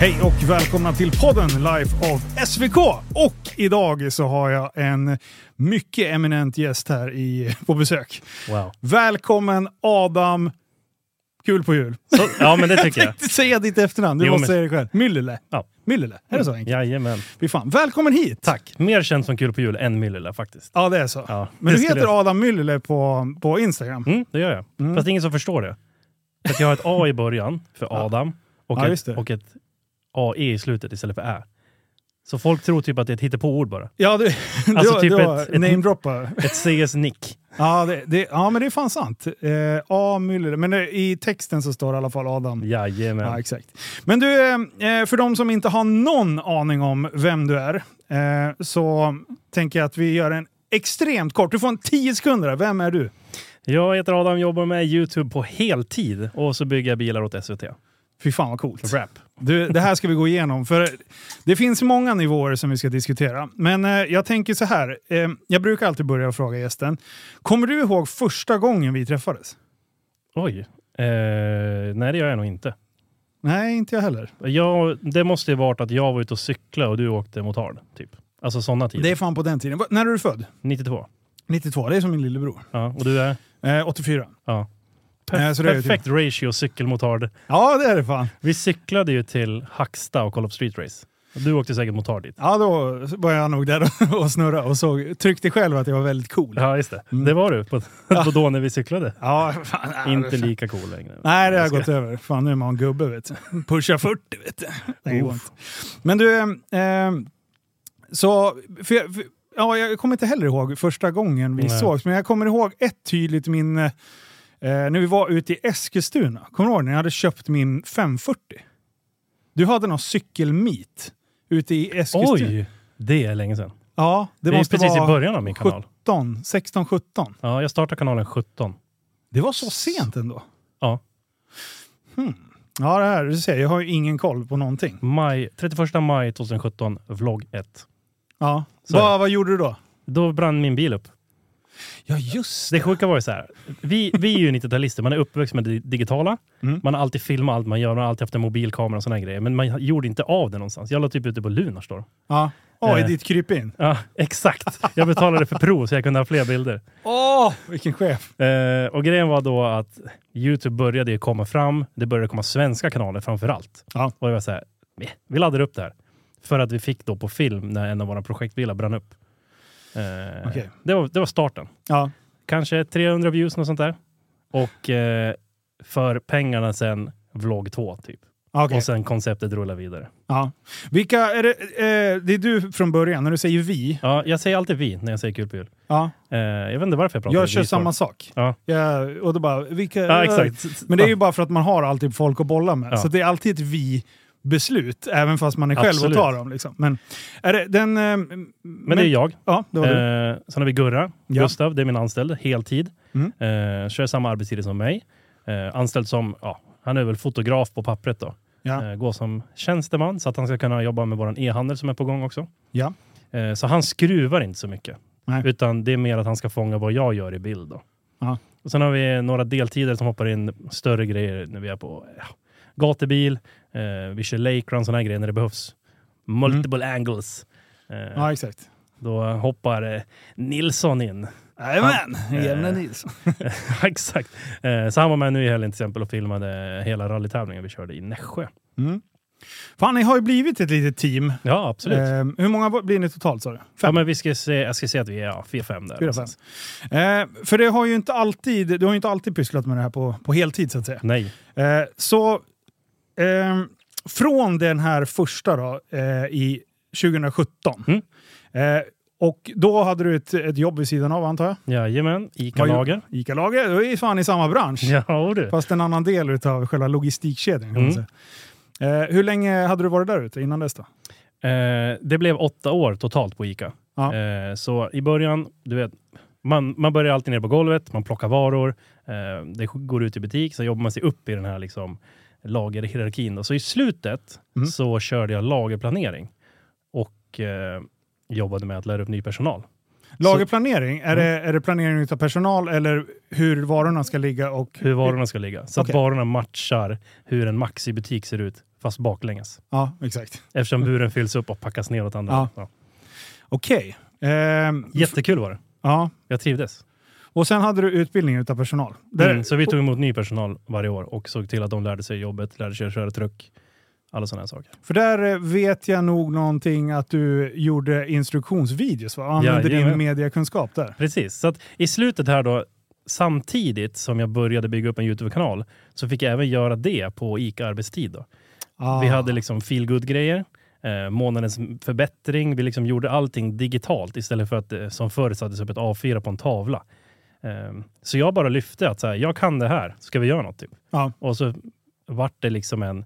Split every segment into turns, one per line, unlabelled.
Hej och välkomna till podden Life of SVK. Och idag så har jag en mycket eminent gäst här i, på besök.
Wow.
Välkommen Adam Kul på jul.
Så, ja, men det tycker jag.
Säga ditt efternamn, du
Jo,
måste
men-
säga det själv. Myllylä.
Ja.
Myllylä, är det så enkelt?
Jajamän.
Fy fan. Välkommen hit!
Tack. Mer känt som kul på jul än Myllylä faktiskt.
Ja, det är så.
Ja,
Men
det
du
skulle
heter
jag-
Adam Myllylä på, på Instagram.
Mm, det gör jag. Fast det är ingen som förstår det. För att jag har ett A i början för Adam och,
Ja, just
ett,
det.
och ett AE i slutet istället för Ä. Så folk tror typ att det är ett hittepåord bara.
Ja, du,
Alltså
du,
typ
du har
ett- ett-
namedroppar.
Ett CS-nick.
Ja, det, det, ja, men det är fan sant. Eh, A. Müller. Men eh, i texten så står det i alla fall Adam.
Jajamän.
Ja, exakt. Men du, eh, för de som inte har någon aning om vem du är, eh, så tänker jag att vi gör en extremt kort. Du får en 10 sekunder. här. Vem är du?
Jag heter Adam, jobbar med YouTube på heltid och så bygger jag bilar åt SVT.
Fy fan vad coolt.
Rap.
Du, det här ska vi gå igenom, för det finns många nivåer som vi ska diskutera. Men eh, jag tänker så här, eh, jag brukar alltid börja fråga gästen. Kommer du ihåg första gången vi träffades?
Oj. Eh, nej, det gör jag nog inte.
Nej, inte jag heller.
Jag, det måste ju varit att jag var ute och cykla och du åkte motard. Typ. Alltså sådana tider.
Det är fan på den tiden. Va- När är du född?
92.
92, det är som min lillebror.
Ja, och du är?
Eh, 84.
Ja.
Eh, så det är ju
perfekt ratio cykelmotard.
Ja, det är det fan.
Vi cyklade ju till Hacksta och kollade på street race. Du åkte säkert motard dit.
Ja, då var jag nog där och snurrade och såg, tryckte själv att jag var väldigt cool.
Ja, just det. Det var du på, på då när vi cyklade.
Mm. Ja, fan. nej,
Inte
fan.
lika cool längre.
Nej, det har
Jag ska-
gått över. Fan, nu är man gubbe vet du. Pusha 40 vet du. Det går inte. Men du, eh, så... För jag, för, ja, jag kommer inte heller ihåg första gången vi
Nej.
sågs, men jag kommer ihåg ett tydligt min... Eh, när vi var ute i Eskilstuna. Kommer du ihåg när jag hade köpt min 540? Du hade någon cykelmeet ute i Eskilstuna.
Oj! Det är länge sedan.
Ja, det,
Det, är ju
måste
precis i
vara
början av min kanal.
17, 16, 17.
Ja, jag startade kanalen 17.
Det var så sent ändå.
Ja.
Hmm. Ja, det här, du ser, jag har ju ingen koll på någonting.
Maj, 31 maj 2017, vlogg 1.
Ja.
Så är
Vad, vad gjorde du då?
Då brann min bil upp.
Ja, just
Det sjuka var ju så här. Vi, vi är ju 90-talister, man är uppväxt med det digitala.
Mm.
Man har alltid filmat allt man gör, man har alltid haft en mobilkamera och sådana grejer. Men man gjorde inte av det någonstans. Jag la typ ut det på Lunars då.
Ja. Oj,
Eh.
ditt krypin.
Ja, exakt. Jag betalade för prov så jag kunde ha fler bilder.
Åh, vilken chef.
Eh, och grejen var då att Youtube började ju komma fram. Det började komma svenska kanaler framför allt.
Ja.
Och jag var så här, "Meh, vi laddar upp det här. För att vi fick då på film när en av våra projektbilar brann upp. Eh,
Okej.
det, var, det var starten.
Ja.
kanske 300 views, något sånt där. Och eh, för pengarna sen vlogg 2 typ.
Ah, Okej.
Och sen konceptet rullar vidare.
Ja. Vilka är det? Eh, det är du från början, när du säger vi.
Ja, jag säger alltid vi när jag säger kul på jul.
Ja.
Eh, jag vet inte varför jag pratar
Jag
om
kör
vi-form.
samma sak.
Ja.
Ja, och då bara, vilka...
Ja, exakt.
Men det är ju bara för att man har alltid folk att bolla med.
Ja.
Så det är alltid ett vi-beslut, även fast man är själv
Absolut.
och tar dem. Liksom. Men, är det, den, eh, men,
Men det är jag.
Ja, det var du.
Eh, sen har vi Gurra,
Ja.
Gustav, det är min anställd, heltid.
Mm.
Eh, kör samma arbetstid som mig. Eh, anställd som, ja, han är väl fotograf på pappret då.
Ja.
Eh, går som tjänsteman så att han ska kunna jobba med vår e-handel som är på gång också.
Ja.
Eh, så han skruvar inte så mycket.
Nej.
Utan det är mer att han ska fånga vad jag gör i bild. Då.
Ja.
Och sen har vi några deltider som hoppar in större grejer när vi är på ja, gatubil, eh, vi kör lake run, sådana här grejer när det behövs. Multiple angles. Eh,
Mm. ja, exakt.
Då hoppar eh, Nilsson in.
Jajamän!
eh,
Jämne Nilsson.
Exakt. Eh, så han var med nu i helgen till exempel och filmade hela rallytävlingen vi körde i Nässjö.
Mm. Fan, ni har ju blivit ett litet team.
Ja, absolut.
Eh, hur många var- blir ni totalt sa du? Fem?
ja, men vi ska se, jag ska se att vi är ja, 4-5 där.
Fyra, fem. Eh, för det har ju inte alltid, du har ju inte alltid pysslat med det här på, på heltid så att säga.
Nej.
Eh, så ehm, från den här första då, eh, i 2017.
Mm.
Eh, och då hade du ett, ett jobb vid sidan av antar jag?
Jajamän, Ica
Vad gjo-
Lager.
Ica-lager, du är ju fan i samma bransch.
Ja, du.
Fast en annan del utav själva logistikkedjan kan man
Mm.
säga. Eh, hur länge hade du varit där ute innan dess då?
Eh, det blev åtta år totalt på Ica.
Ja.
Eh, så i början, du vet, man, man börjar alltid ner på golvet, man plockar varor, eh, det går ut i butik, sen jobbar man sig upp i den här liksom, lagerhierarkin. Då. Så i slutet
Mm.
så körde jag lagerplanering och eh, jobbade med att lära upp ny personal.
Lagerplanering, är,
Mm.
det, är det planering utav personal eller hur varorna ska ligga? Och
Hur varorna ska ligga, så
Okej.
att varorna matchar hur en Maxi-butik ser ut fast baklänges.
Ja, exakt.
Eftersom buren fylls upp och packas ner åt andra
Mm. Ja.
hållet. Ja.
Okej. Ehm,
Jättekul var det.
ja.
Jag trivdes.
Och sen hade du utbildning utav personal. Där,
Mm. Så vi tog emot ny personal varje år och såg till att de lärde sig jobbet, lärde sig att köra truck. Alla sådana här saker.
För där eh, vet jag nog någonting att du gjorde instruktionsvideos va? Och använde din
Jajamän.
mediekunskap där.
Precis, så att i slutet här då, samtidigt som jag började bygga upp en YouTube-kanal, så fick jag även göra det på ICA-arbetstid. Då.
Ah.
Vi hade liksom feel good grejer eh, månadens förbättring. Vi liksom gjorde allting digitalt istället för att eh, som förr sattes upp ett A4 på en tavla. Eh, så jag bara lyfte att så här, jag kan det här, ska vi göra något? Typ.
Ja.
Och så vart det liksom en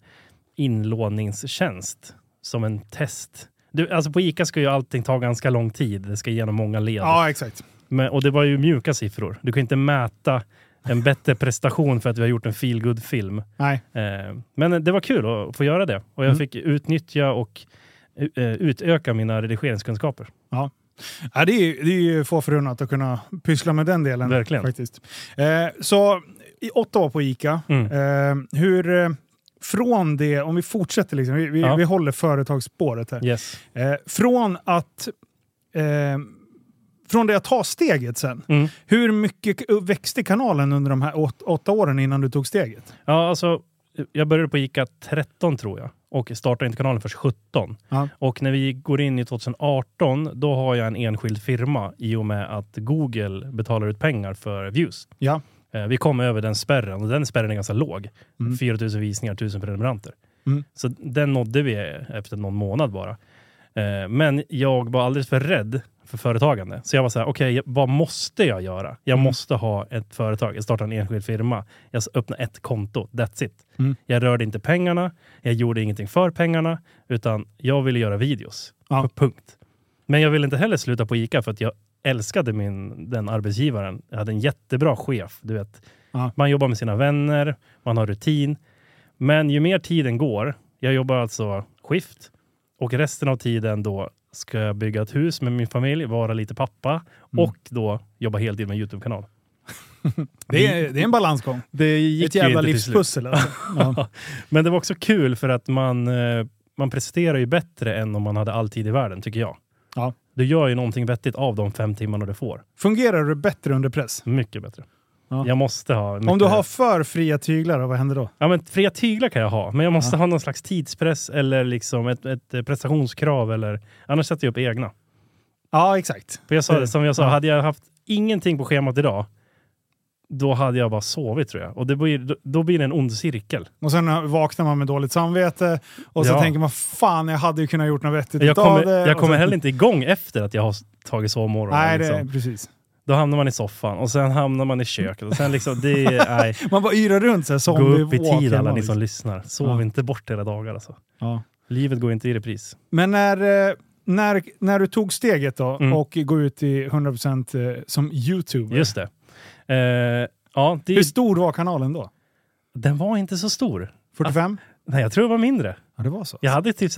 inlåningstjänst som en test. Du, alltså på ICA ska ju allting ta ganska lång tid. Det ska igenom många led.
ja, exakt.
Men, och det var ju mjuka siffror. Du kan inte mäta en bättre prestation för att vi har gjort en feel good film
Nej.
Eh, Men det var kul att få göra det och jag
Mm.
fick utnyttja och eh, utöka mina redigeringskunskaper.
Ja, det, är, ju- det är ju få förunnat att kunna pyssla med den delen.
Verkligen.
Faktiskt. Eh, så i åtta år på ICA.
Mm.
Eh, hur, eh, från det, om vi fortsätter, liksom, vi, vi,
Ja.
vi håller företagsspåret här.
Yes.
Eh, från att eh, från det att ta steget sen,
Mm.
hur mycket k- växte kanalen under de här åt, åtta åren innan du tog steget?
Ja, alltså, jag började på ICA 13 tror jag och startade inte kanalen först 17.
Ja.
Och när vi går in i 2018, då har jag en enskild firma i och med att Google betalar ut pengar för views.
Ja.
Eh, Vi kom över den spärren och den spärren är ganska låg.
Mm.
4 000 visningar, 1000 prenumeranter.
Mm.
Så den nådde vi efter någon månad bara. Eh, Men jag var alldeles för rädd för företagande. Så jag var så här, okej, vad måste jag göra? Jag
Mm.
måste ha ett företag, jag startar en enskild firma, jag öppnar ett konto, that's it.
Mm.
Jag rörde inte pengarna, jag gjorde ingenting för pengarna, utan jag ville göra videos.
Ja.
Punkt. Men jag ville inte heller sluta på ICA för att jag älskade min, den arbetsgivaren. Jag hade en jättebra chef. Du vet.
Ja.
Man jobbar med sina vänner, man har rutin. Men ju mer tiden går, jag jobbar alltså skift och resten av tiden då ska jag bygga ett hus med min familj, vara lite pappa
Mm.
och då jobba heltid med en YouTube-kanal.
Det är, det är en balansgång.
Det
Ett jävla
till slut.
livspussel. Alltså. Ja.
Men det var också kul för att man, eh, man presterar ju bättre än om man hade all tid i världen, tycker jag.
Ja.
Du gör ju någonting vettigt av de fem timmarna du får.
Fungerar du bättre under press?
Mycket bättre.
Ja.
Jag måste ha...
Om
mycket-
du har för fria tyglar, vad händer då?
Ja, men fria tyglar kan jag ha, men jag måste ha någon slags tidspress eller liksom ett, ett eh, prestationskrav. Eller, annars sätter jag upp egna.
Ja, exakt.
För jag sa, det, som jag sa,
Mm. Ja.
hade jag haft ingenting på schemat idag, då hade jag bara sovit tror jag. Och det blir, då- då blir det en ond cirkel.
Och sen vaknar man med dåligt samvete och så
Ja.
tänker man fan, jag hade ju kunnat gjort något vettigt
Jag
utav
kommer,
det.
jag
Och
kommer
så-
heller inte igång efter att jag har s- tagit sovmorgon.
Nej, det,
liksom.
precis.
Då hamnar man i soffan och sen hamnar man i köket. Och sen liksom, det, är- nej,
Man bara yrar runt så här,
gå
zombie
upp i
walk
tid alla
hemma,
ni
liksom.
som lyssnar. Sov
Ja.
inte bort era dagar alltså.
ja.
Livet går inte i repris.
Men när, eh, när, när du tog steget då
Mm.
och går ut i 100% eh, som youtuber,
Just det. Eh, ja, det
hur stor var kanalen då?
den var inte så stor.
45?
Nej, jag tror det var mindre.
Ja, det var så.
Jag hade typ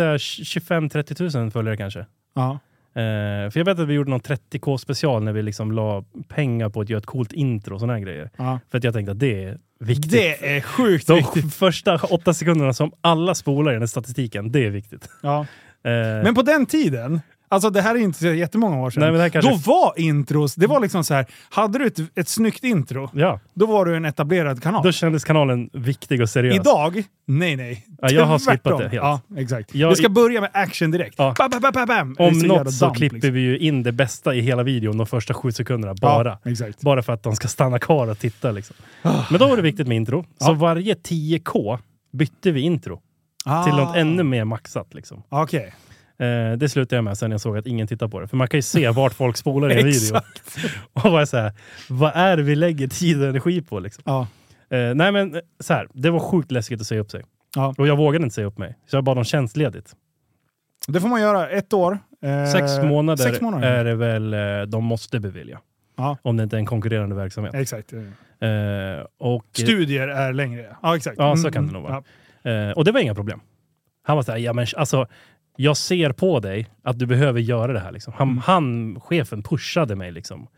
25-30 000 följare kanske.
Ja.
Eh, för jag vet att vi gjorde någon 30k special när vi liksom la pengar på att göra ett coolt intro och såna här grejer.
Ja.
För att jag tänkte att det är viktigt.
Det är sjukt
De
viktigt.
första åtta sekunderna som alla spolar i den här statistiken, det är viktigt.
Ja.
Eh,
Men på den tiden, alltså det här är inte så jättemånga år sedan,
Nej, men det här kanske-
då var intros, det var liksom så här, hade du ett, ett snyggt intro,
ja,
då var du en etablerad kanal.
då kändes kanalen viktig och seriös.
Idag? Nej, nej.
Ja, jag har
Tvärtom.
skippat det helt.
Ja, exakt.
Jag-
Vi ska börja med action direkt.
Ja.
Bam, bam, bam, bam, bam. Det är
Om
så jävla
något så
damp,
klipper
liksom.
vi ju in det bästa i hela videon de första sju sekunderna bara.
Ja, exakt. Ah.
Bara för att de ska stanna kvar och titta. Liksom. Men då var det viktigt med intro. Så
Ja.
varje 10K bytte vi intro till något ännu mer maxat. Liksom.
Ah, Okej.
Eh, det slutade jag med sen jag såg att ingen tittar på det. För man kan ju se vart folk spolar i en video. Och bara så här, vad är det vi lägger tid och energi på? Liksom?
Ja.
Eh, nej men eh, så här, det var sjukt läskigt att säga upp sig.
Ja.
Och jag vågade inte säga upp mig. Så jag bad om tjänstledigt.
Det får man göra. Ett år. Eh,
Sex månader,
Sex månader.
är det väl eh, de måste bevilja.
Ja.
Om det inte är en konkurrerande verksamhet.
Exakt.
Eh, och,
Studier är längre. Ja, exakt.
Ja, så
Mm,
kan det
mm,
nog vara.
ja.
eh, och det var inga problem. Han var så här, ja men alltså, jag ser på dig att du behöver göra det här. Liksom. Han,
Mm.
han, chefen pushade mig liksom.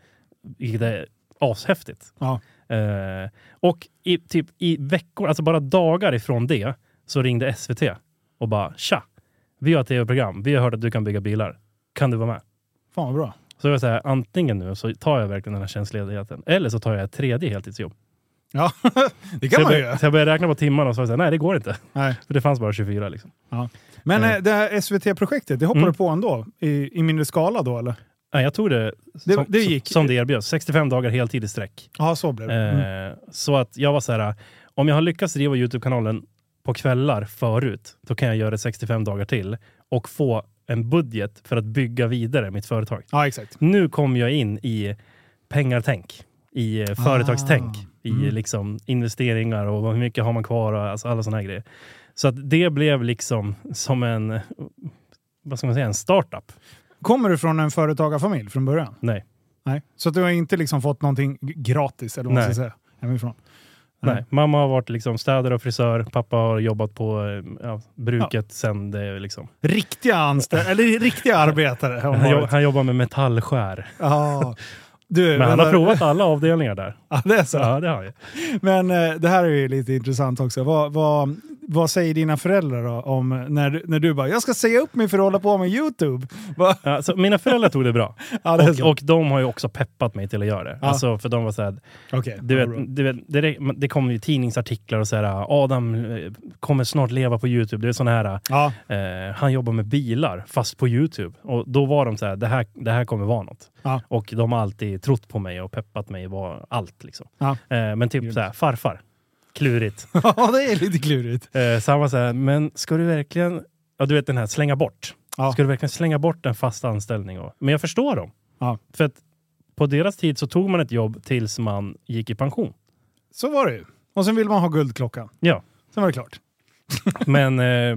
Vilket är ashäftigt.
Ja.
Eh, och i, typ, i veckor, alltså bara dagar ifrån det, så ringde SVT och bara tja, vi har ett tv-program, vi har hört att du kan bygga bilar. Kan du vara med?
Fan vad bra.
Så jag var så här, antingen nu så tar jag verkligen den här tjänstledigheten eller så tar jag ett tredje heltidsjobb.
Ja, det
Så
kan man
jag,
ju
började,
göra.
så jag började räkna på timmarna och så var jag så här, nej det går inte.
Nej.
För det fanns bara 24 liksom.
Men
Eh.
eh, det här SVT-projektet, det hoppade
Mm.
på ändå? I, I mindre skala då eller?
Nej, jag tog det,
Det-
som,
det gick.
som det erbjöds. 65 dagar heltid i sträck.
Ja, så blev det. Mm.
Eh, Så att jag var så här, eh, om jag har lyckats driva YouTube-kanalen på kvällar förut, då kan jag göra det 65 dagar till och få en budget för att bygga vidare mitt företag.
Ja, exakt.
Nu kom jag in i pengartänk, i eh, företagstänk, i eh,
Ah. mm.
liksom investeringar och hur mycket har man kvar och alltså alla sådana här grejer. Så att det blev liksom som en, eh, vad ska man säga, en startup.
Kommer du från en företagarfamilj från början?
Nej.
Nej. Så att du har inte liksom fått någonting g- gratis eller vad man ska
Nej.
säga, hemifrån?
Nej.
Mm.
Mamma har varit liksom städare och frisör, pappa har jobbat på eh, ja, bruket sen det liksom
Riktiga anställda, eller riktiga arbetare. har man
Han, jo-
varit.
han jobbar med metallskär.
Ja. Du,
Men han har
vänta.
provat alla avdelningar där.
eh, Ja, det är så.
Ja, det har han ju.
Men eh, det här är ju lite intressant också. Vad, vad, vad säger dina föräldrar då om eh, när, du- när du bara “jag ska säga upp mig för att hålla på med YouTube”? Va?
Ja, så mina föräldrar tog det bra.
Ja, det är så.
Och, och de har ju också peppat mig till att göra det.
Ja.
Alltså, för de var såhär,
Okej,
du
vad bra.
vet, du vet, det, rä- det kom ju tidningsartiklar och såhär, Adam eh, kommer snart leva på YouTube. Det är sådana här,
Ja,
eh, han jobbar med bilar fast på YouTube. Och då var de såhär, det här, det här kommer vara något.
Ja.
Och de har alltid trott på mig och peppat mig var allt. Liksom.
Ja.
Eh, men typ
Grymt.
såhär, farfar. Klurigt.
ja, det är lite klurigt.
Eh, så han var så här, men ska du verkligen, ja du vet den här slänga bort.
Ja.
Ska du verkligen slänga bort en fast anställning? Och, men jag förstår dem.
Ja.
För att på deras tid så tog man ett jobb tills man gick i pension.
Så var det ju. Och sen vill man ha guldklockan.
Ja.
Sen var det klart.
Men, eh,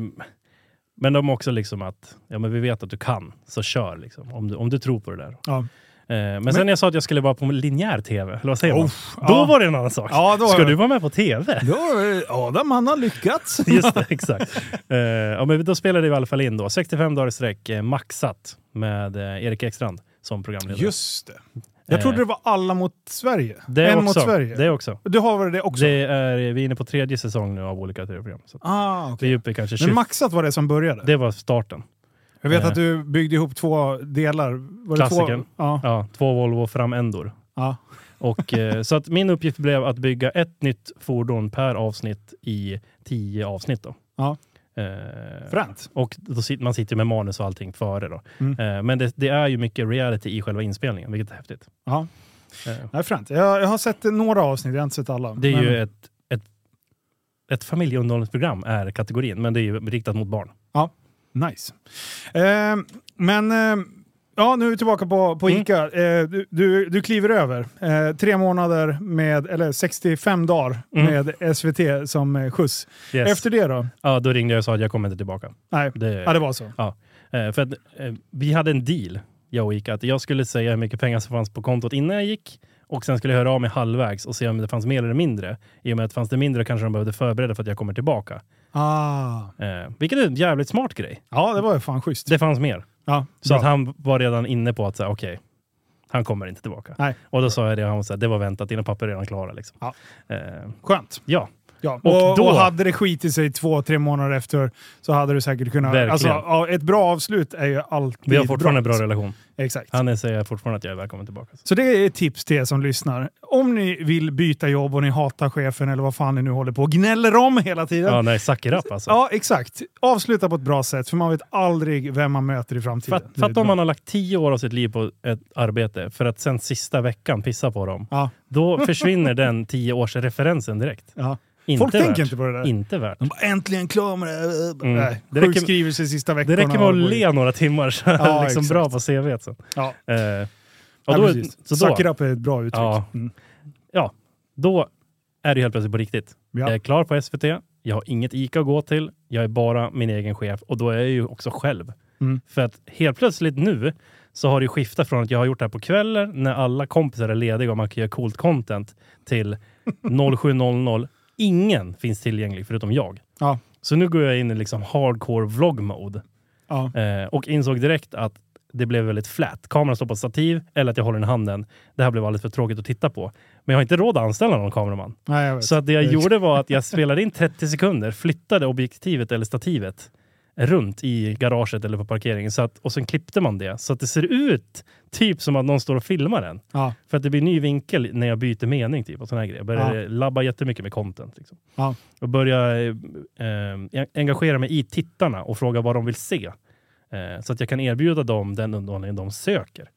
men de också liksom att, ja men vi vet att du kan, så kör liksom. Om du, om du tror på det där.
Ja.
Eh, men, sen när jag sa att jag skulle vara på linjär tv, eller vad säger man?
Uff,
Då
ja.
var det en annan sak.
Ja, då...
Ska du vara med på tv?
Då, eh, Adam, han har lyckats.
Just det, exakt. Eh, ja, men då spelade vi i alla fall in då. 65 dagar i sträck, eh, maxat, med eh, Erik Ekstrand som programledare.
Just det. Jag trodde det var alla mot Sverige.
Eh. det
en
också,
mot Sverige.
Det också.
Du har väl det också?
Det är, vi är inne på tredje säsong nu av olika tv-program. Så att
Ah,
Vi
okej.
är uppe i kanske 20.
Men Maxat var det som började?
det var starten.
Jag vet
Eh.
att du byggde ihop två delar. Var det
Klassikern.
två? Ja.
Ja, två Volvo framändor.
ja.
Och, eh, så att min uppgift blev att bygga ett nytt fordon per avsnitt i tio avsnitt. Då.
Ja.
Eh,
Fränt.
Och då sit, man sitter med manus och allting före. Då.
Mm.
Eh, men det, det är ju mycket reality i själva inspelningen, vilket är häftigt.
Ja.
Eh,
Nej, fränt. Jag, jag har sett några avsnitt, jag har inte sett alla.
Det är
Men-
ju ett, ett, ett familjeunderhållningsprogram är kategorin, men det är ju riktat mot barn.
Nice. Eh, men eh, ja, nu är vi tillbaka på, på
Mm.
Ica. Eh, du, du, du kliver över eh, tre månader med, eller 65 dagar
Mm.
med SVT som eh, skjuts.
Yes.
Efter det då?
Ja, då ringde jag och sa att jag kommer inte tillbaka.
Nej,
Det,
ja, det var så.
eh, för att, eh, vi hade en deal, jag och Ica, att jag skulle säga hur mycket pengar som fanns på kontot innan jag gick och sen skulle jag höra av mig halvvägs och se om det fanns mer eller mindre. I och med att fanns det mindre kanske de behövde förbereda för att jag kommer tillbaka.
Ah.
Eh, vilket är en jävligt smart grej.
Ja, det var ju fan schysst.
Det fanns mer.
Ja,
Så
bra.
att han var redan inne på att säga okej, han kommer inte tillbaka.
Nej.
Och då sa jag det och han var så här, det var väntat, dina papper är redan klara. Liksom.
Ja.
Eh,
Skönt.
ja.
Ja.
Och
Och, och,
då-
hade det skitit sig två, tre månader efter så hade du säkert kunnat...
Verkligen.
Alltså, ja, ett bra avslut är ju alltid
Vi har fortfarande en
bra.
bra relation.
Exakt.
Han säger fortfarande att jag är välkommen tillbaka.
Så det är ett tips till er som lyssnar. Om ni vill byta jobb och ni hatar chefen eller vad fan ni nu håller på och gnäller om hela tiden.
Ja,
Ja,
nej, Sakirap alltså.
exakt. Avsluta på ett bra sätt för man vet aldrig vem man möter i framtiden.
Fatt-
Det är
Fatta
bra.
om man har lagt tio år av sitt liv på ett arbete för att sen sista veckan pissa på dem.
Ja,
Då försvinner den tioårsreferensen direkt.
ja.
Inte
Folk
värt.
tänker inte på det där.
Inte värt.
De bara äntligen klar med det. här."
Mm.
Nej,
Det räcker-
sjukskrivelse sista veckorna.
Det räcker med
och-
att le några timmar så är
Ja,
det liksom
exakt.
bra på CVt sen.
Ja,
Eh, och
ja
då,
precis.
så då,
Suck it up är ett bra uttryck.
Ja.
Mm.
då är det helt plötsligt på riktigt.
Ja.
Jag är klar på SVT, jag har inget ICA att gå till, jag är bara min egen chef och då är jag ju också själv.
Mm.
För att helt plötsligt nu så har det ju skiftat från att jag har gjort det här på kvällen när alla kompisar är lediga och man kan göra coolt content till 07.00. Ingen finns tillgänglig förutom jag.
Ja.
Så nu går jag in i liksom hardcore vlog mode
Ja.
eh, och insåg direkt att det blev väldigt flat. Kameran står på ett stativ eller att jag håller den i handen. Det här blev alldeles för tråkigt att titta på. Men jag har inte råd att anställa någon kameraman.
Nej, jag vet.
Så att det jag
Exakt.
gjorde var att jag spelade in 30 sekunder, flyttade objektivet eller stativet runt i garaget eller på parkeringen. Så att, och sen klippte man det så att det ser ut typ som att någon står och filmar en.
Ja.
För att det blir ny vinkel när jag byter mening typ och såna här grejer. Jag börjar labba jättemycket med content. Liksom.
Ja.
Och börjar eh, eh, engagera mig i tittarna och fråga vad de vill se. Eh, så att jag kan erbjuda dem den underhållning de söker.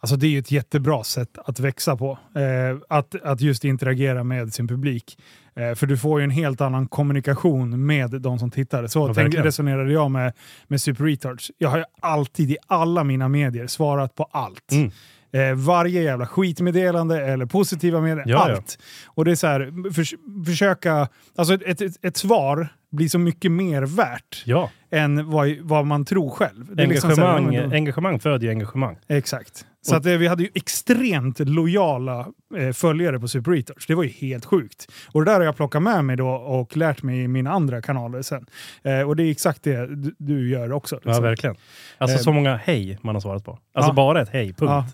Alltså det är ju ett jättebra sätt att växa på. Eh, att, att just interagera med sin publik. Eh, för du får ju en helt annan kommunikation med de som tittar. Så
Ja,
tänk,
verkligen.
resonerade jag med, med Super Retards. Jag har ju alltid i alla mina medier svarat på allt.
Mm.
Eh, varje jävla skitmeddelande eller positiva meddelanden.
Ja, ja.
allt. Och det är så här, förs försöka... Alltså ett, ett, ett, ett svar blir så mycket mer värt
Ja,
än vad, vad man tror själv. Det är liksom så här,
engagemang,
ja, men då-
engagemang föder ju engagemang.
Exakt. Så att, eh, vi hade ju extremt lojala eh, följare på Super Retards. Det var ju helt sjukt. Och det där har jag plockat med mig då och lärt mig i mina andra kanaler sen. Eh, och det är exakt det du, du gör också.
Ja,
liksom.
verkligen. Alltså
Eh,
så många hej man har svarat på. Alltså
Ja.
bara ett hej, punkt.
Ja.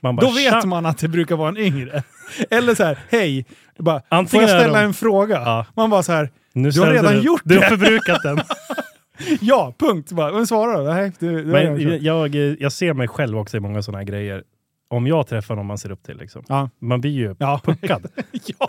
Man bara,
Då vet
"Tja!"
man att det brukar vara en yngre. Eller så här, hej, bara, får
Antingen
jag
är
ställa
de-
en fråga?
Ja.
Man bara så här,
Nu
Du har
ställde
redan gjort
Du har
det.
förbrukat den.
ja, punkt. Bara, men svara då. Nej, du, du har
Men
redan kört.
jag, eh, jag ser mig själv också i många sådana här grejer. Om jag träffar någon man ser upp till, liksom.
Ja.
man blir ju
Ja.
puckad.
ja.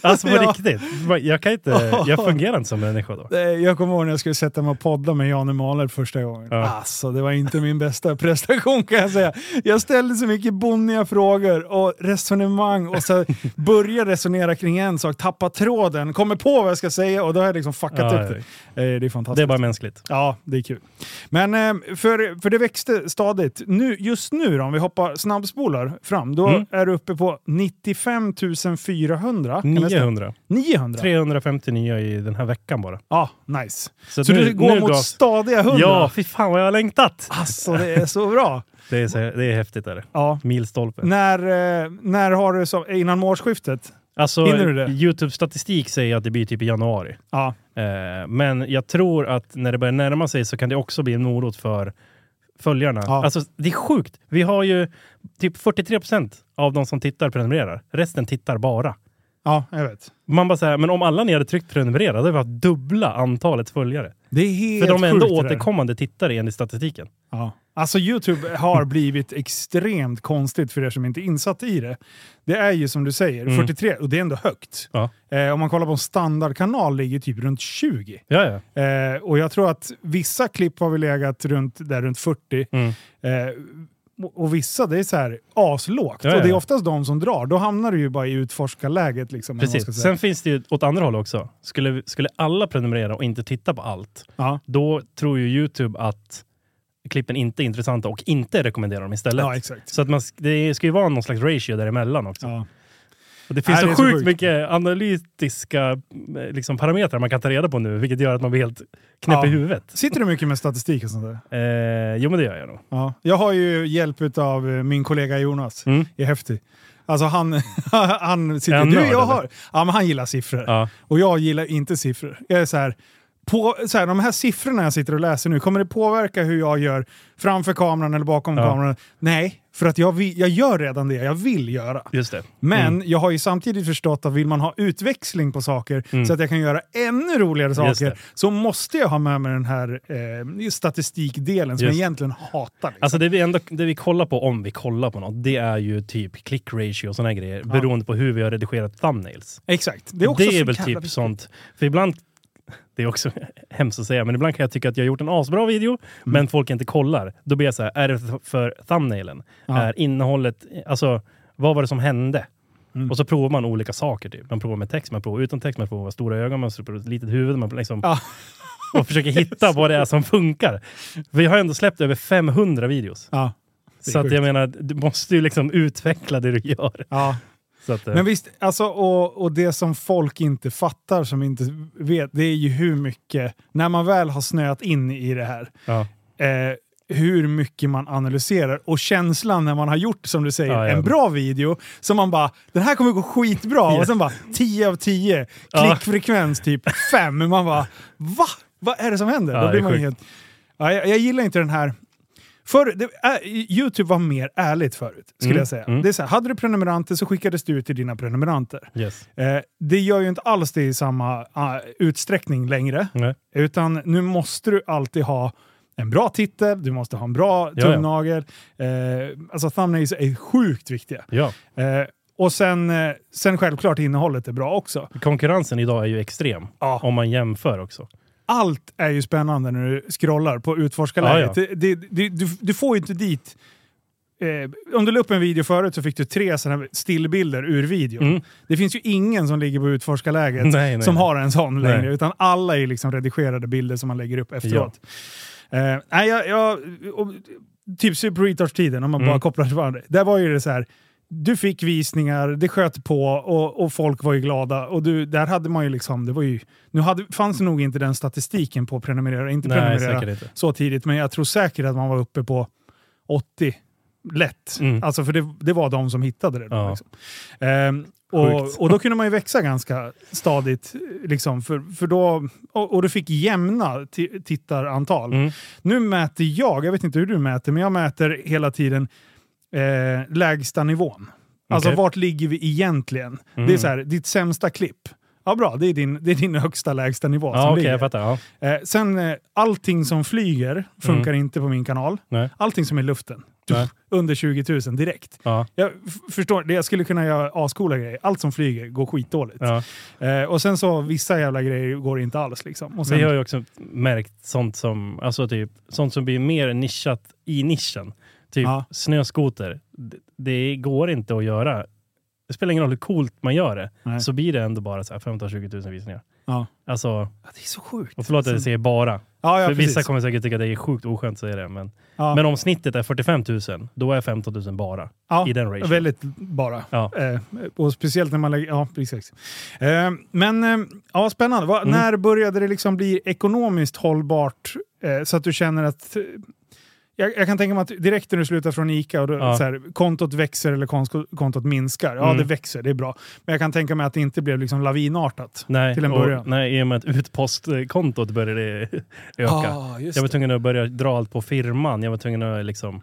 Alltså på
Ja.
riktigt. Jag, kan inte, jag fungerar inte som människa då.
Eh, Jag kommer ihåg när jag skulle sätta mig och podda med Janne Mahler första gången.
Ja.
Alltså, det var inte min bästa prestation kan jag säga. Jag ställde så mycket bonniga frågor och resonemang och så började resonera kring en sak, tappa tråden, kommer på vad jag ska säga och då har jag liksom fuckat
Ja,
upp det. Eh, Det är fantastiskt.
Det är bara mänskligt.
Ja, det är kul. Men eh, för, för det växte stadigt. Nu, just nu då, om vi hoppar snabbspolar fram, då
Mm.
är du uppe på 95 400. Kan det stämma?
900.
900?
359 i den här veckan bara.
Ja, nice.
Så,
Så
nu,
du går
nu
mot
gas.
stadiga 100?
Ja, fy fan vad jag har längtat!
Alltså det är så bra.
Det är, så, det är häftigt. Är det.
Ja.
Milstolpe.
När, eh, när har du som, innan årsskiftet?
Alltså,
Hinner du det?
Youtube-statistik säger att det blir typ i januari.
Ja.
Eh, Men jag tror att när det börjar närma sig så kan det också bli en morot för följarna.
Ja.
Alltså det är sjukt. Vi har ju typ 43% av de som tittar prenumererar. Resten tittar bara.
ja, jag vet.
Man bara säger, men om alla ni hade tryckt prenumerera, då hade vi haft dubbla antalet följare.
Det är helt
För de är
sjukt
ändå
det där.
återkommande tittare enligt statistiken.
Ja. Alltså Youtube har blivit extremt konstigt för er som inte är insatt i det. Det är ju som du säger,
Mm.
43 och det är ändå högt.
Ja.
Eh, om man kollar på en standardkanal ligger typ runt 20.
Ja, ja.
Eh, och jag tror att vissa klipp har vi legat runt, där runt 40.
Mm.
Eh, och- och vissa, det är så här aslågt.
Ja, ja.
Och det är oftast de som drar. Då hamnar du ju bara i utforskarläget. Liksom, eller vad man ska
Precis.
säga.
Sen finns det ju åt andra håll också. Skulle, skulle alla prenumerera och inte titta på allt,
ja.
då tror ju Youtube att klippen inte är intressanta och inte rekommenderar dem istället.
ja, exakt.
Så att man, sk- det ska ju vara någon slags ratio däremellan också.
Ja.
Och det
Nej,
finns så,
det är så
sjukt
sjukt.
mycket analytiska eh, liksom, parametrar man kan ta reda på nu, vilket gör att man blir helt knäpp
Ja.
i huvudet.
Sitter du mycket med statistik och sånt där?
Eh, jo, men det gör jag nog.
Ja. Jag har ju hjälp av min kollega Jonas
Mm.
i Häftig. Alltså han, han
Är
sitter...
han
Du,
nörd,
jag
eller?
har, ja, men han gillar siffror.
Ja.
Och jag gillar inte siffror. Jag är så här, på, så här, de här siffrorna jag sitter och läser nu, kommer det påverka hur jag gör framför kameran eller bakom
Ja.
kameran? Nej, för att jag, vill, jag gör redan det jag vill göra.
Just det.
Men jag har ju samtidigt förstått att vill man ha utväxling på saker
Mm.
så att jag kan göra ännu roligare
det.
saker så måste jag ha med mig den här eh, statistikdelen som
Just.
jag egentligen hatar. Liksom.
Alltså det vi, ändå, det vi kollar på, om vi kollar på något, det är ju typ click ratio och sådana grejer,
Ja.
beroende på hur vi har redigerat thumbnails.
Exakt. Det är, också så
väl
jävla
typ
viktigt.
sånt. För ibland, det är också hemskt att säga, men ibland kan jag tycka att jag har gjort en asbra video,
Mm.
men folk inte kollar. Då blir jag så här, är det th- för thumbnailen?
Ja.
Är innehållet, alltså vad var det som hände?
Mm.
Och så provar man olika saker. Typ. Man provar med text, man provar utan text, man provar stora ögon, man provar ett litet huvud. Man liksom,
Ja.
Och försöker hitta vad det är som funkar. Vi har ändå släppt över 500 videos.
Ja. Det är
Så att jag
sjukt.
menar, du måste ju liksom utveckla det du gör.
Ja.
Så att, eh,
Men visst, alltså, och, och det som folk inte fattar, som inte vet, det är ju hur mycket, när man väl har snöat in i det här,
ja.
eh, hur mycket man analyserar och känslan när man har gjort, som du säger,
Ja, ja.
en bra video som man bara “den här kommer gå skitbra”
Ja.
och sen bara 10 av 10,
Ja.
klickfrekvens typ 5. Man bara “va? Vad är det som händer?”
Ja,
Då
det
blir
är
man
sjukt.
helt... ja, jag, jag gillar inte den här... Förr, det, äh, Youtube var mer ärligt förut, skulle
Mm,
jag säga.
mm.
Det är så här, hade du prenumeranter så skickades du ut till dina prenumeranter.
Yes.
Eh, det gör ju inte alls det i samma ah, utsträckning längre,
Nej.
utan nu måste du alltid ha en bra titel, du måste ha en bra
Ja, ja.
tumnagel. Eh, alltså thumbnails är sjukt viktiga.
Ja.
Eh, och sen, eh, sen självklart innehållet är bra också.
Konkurrensen idag är ju extrem.
Ja.
Om man jämför också.
allt är ju spännande när du scrollar på utforskarläget.
Ja,
Det, det, det, du, du får ju inte dit... Eh, om du la upp en video förut så fick du tre såna här stillbilder ur videon.
Mm.
Det finns ju ingen som ligger på utforskarläget
Nej, nej,
som
nej.
har en sån
Nej.
längre, utan alla är liksom redigerade bilder som man lägger upp efteråt. Eh, nej, jag, jag, och, typ Super Retouch-tiden, om man
Mm.
bara kopplar till varandra. Där var ju det så här, du fick visningar, det sköt på och, och folk var ju glada. Och du, där hade man ju liksom, det var ju, nu hade, fanns det nog inte den statistiken på prenumerera, inte
Nej,
prenumerera
säkert inte.
så tidigt, men jag tror säkert att man var uppe på 80 lätt.
Mm.
Alltså för det, det var de som hittade det. Då,
Ja.
liksom. Ehm, och,
Sjukt.
och då kunde man ju växa ganska stadigt. Liksom, för, för då, och, och du fick jämna ti- tittarantal.
Mm.
Nu mäter jag, jag vet inte hur du mäter, men jag mäter hela tiden eh, lägsta nivån. Alltså
Okej.
vart ligger vi egentligen? Det är
Mm.
så här, ditt sämsta klipp. Ja bra, det är din, det är din högsta lägsta nivå
Ja,
som
okej,
ligger.
jag fattar. Ja.
Eh, sen, eh, allting som flyger funkar inte på min kanal.
Nej.
Allting som är i luften.
Mm. Nej.
Under 20 000 direkt.
Ja.
Jag f- förstår, det- jag skulle kunna göra ascoola grejer. Allt som flyger går skitdåligt.
Ja.
Eh, och sen så vissa jävla grejer går inte alls liksom. Och sen,
Vi har ju också märkt sånt som, alltså typ, sånt som blir mer nischat i nischen. Typ
Ja.
snöskoter. Det, det går inte att göra. Det spelar ingen roll hur coolt man gör det,
Nej.
så blir det ändå bara så här 15-20 000 visningar.
Ja.
Alltså,
Ja, det är så sjukt.
och förlåt att jag säger bara.
Ja, ja,
För vissa
precis.
kommer säkert tycka att det är sjukt oskönt att säga det, men,
Ja.
men om snittet är 45 000, då är 15 000 bara.
Ja,
I den ratio.
Väldigt bara.
Ja.
Eh, och speciellt när man lägger... Ja, precis. Eh, men eh, ja, spännande. Va,
Mm.
När började det liksom bli ekonomiskt hållbart eh, så att du känner att... eh, Jag, jag kan tänka mig att direkt när du slutar från ICA och då,
Ja.
så här, kontot växer eller konsko- kontot minskar. Ja,
Mm.
det växer, det är bra. Men jag kan tänka mig att det inte blev liksom lavinartat.
Nej,
Till en början.
Och, nej, i och med att utpostkontot började öka.
Ah, just
Jag var tvungen att börja dra allt på firman. Jag var tvungen att liksom...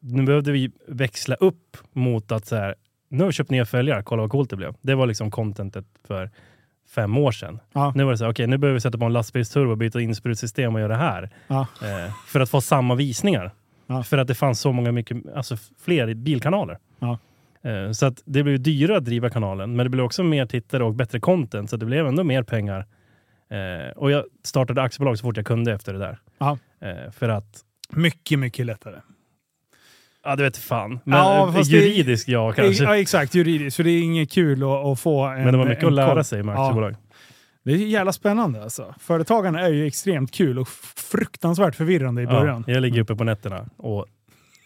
Nu behövde vi växla upp mot att så här, nu har vi köpt nya följare, kolla vad coolt det blev. Det var liksom contentet för fem år sedan.
Ja.
Nu var det så här, okej nu behöver vi sätta på en lastbilsturbo, byta insprutsystem och göra det här.
Ja.
Eh, för att få samma visningar.
Ja.
För att det fanns så många mycket, alltså fler bilkanaler.
Ja.
Eh, så att det blev dyrare att driva kanalen, men det blev också mer tittare och bättre content, så det blev ändå mer pengar. Eh, och jag startade aktiebolag så fort jag kunde efter det där.
Ja.
Eh, för att,
Mycket, mycket lättare.
ja du vet fan, men
Ja,
eh,
fast det-
juridiskt ja kanske.
Eh, Ja, exakt. Juridiskt. För det är inget kul att, att få en...
men det var mycket
en
att lära
koll.
sig med
Ja.
aktiebolag.
Det är ju jävla spännande alltså. Företagarna är ju extremt kul och fruktansvärt förvirrande i början.
jag ligger uppe på nätterna och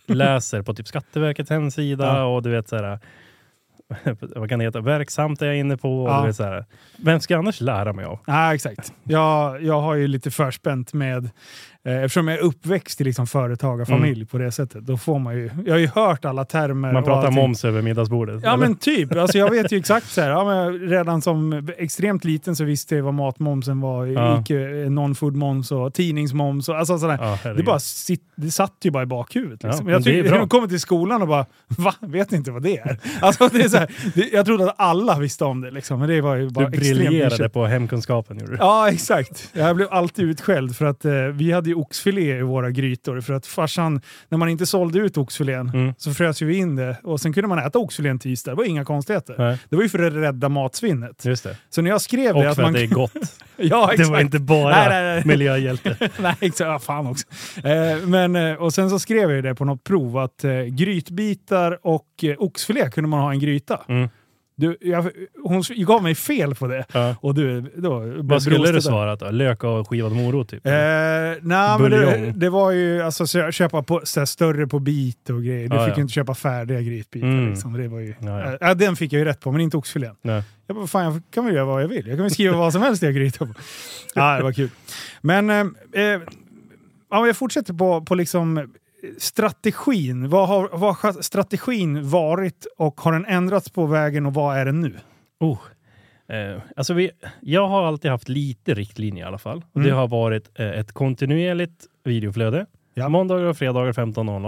läser på typ Skatteverkets hemsida
Ja.
och du vet så här. Vad kan det heta? Verksamt är jag inne på. Och
Ja.
du vet, så här, vem ska jag annars lära mig av?
Nej, exakt. Jag, jag har ju lite förspänt med, eh, eftersom jag är uppväxt i liksom företagarfamilj på det sättet, då får man ju, jag har ju hört alla termer.
Mm. Man
och
pratar
allting.
moms över middagsbordet.
Ja
eller?
men typ, alltså jag vet ju exakt så här. Ja, men redan som extremt liten så visste jag vad matmomsen var,
Ja.
Ica, eh, non-food moms och tidningsmoms och alltså sådär.
Ja,
Det,
herregud.
bara sit, det satt ju bara i bakhuvudet.
Ja,
Liksom.
men
jag
det är
tycker,
bra.
de kommer till skolan och bara va? Vet ni inte vad det är? Alltså, det är så här, det, jag trodde att alla visste om det, liksom, men det var ju bara
du briljerade
nischat.
på hemkunskapen gjorde du.
Ja, exakt. Jag blev alltid utskälld för att eh, vi hade ju oxfilé i våra grytor. För att farsan, när man inte sålde ut oxfilén
Mm.
så frös ju vi in det och sen kunde man äta oxfilén tisdag. Det var inga konstigheter.
Nej,
Det var ju för att rädda matsvinnet.
just det.
Så när jag skrev
Och
det...
för att
man,
det är gott.
ja,
Det
exakt.
var inte bara
Nej, nej, nej.
miljöhjälte.
Nej, exakt. Ja, fan också. Eh, men, eh, och sen så skrev jag ju det på något prov att eh, grytbitar och eh, oxfilé kunde man ha i en gryta.
Mm.
Du, jag, hon s- gav mig fel på det.
Ja.
Och du, då, blev
Vad skulle du
brostet där.
svara då? Lök och skivad morot typ?
Eh, nej, men det,
Buljong.
det var ju alltså, kö- köpa på, så här, större på bit och grejer. Du
Ja,
fick
ja.
ju inte köpa färdiga grytbitar.
Mm.
Liksom. Det var ju,
Ja, ja.
Eh, ja, den fick jag ju rätt på, men inte oxfilén.
Nej.
Jag bara, fan jag kan väl göra vad jag vill. Jag kan väl skriva vad som helst jag gryta på. Ja, det var kul. Men eh, eh, ja, jag fortsätter på, på liksom eh, strategin. Vad har, vad har strategin varit och har den ändrats på vägen och vad är den nu?
Oh. Eh, alltså vi, jag har alltid haft lite riktlinjer i alla fall.
Mm.
Det har varit eh, ett kontinuerligt videoflöde
Ja.
Måndagar och fredagar 15.00.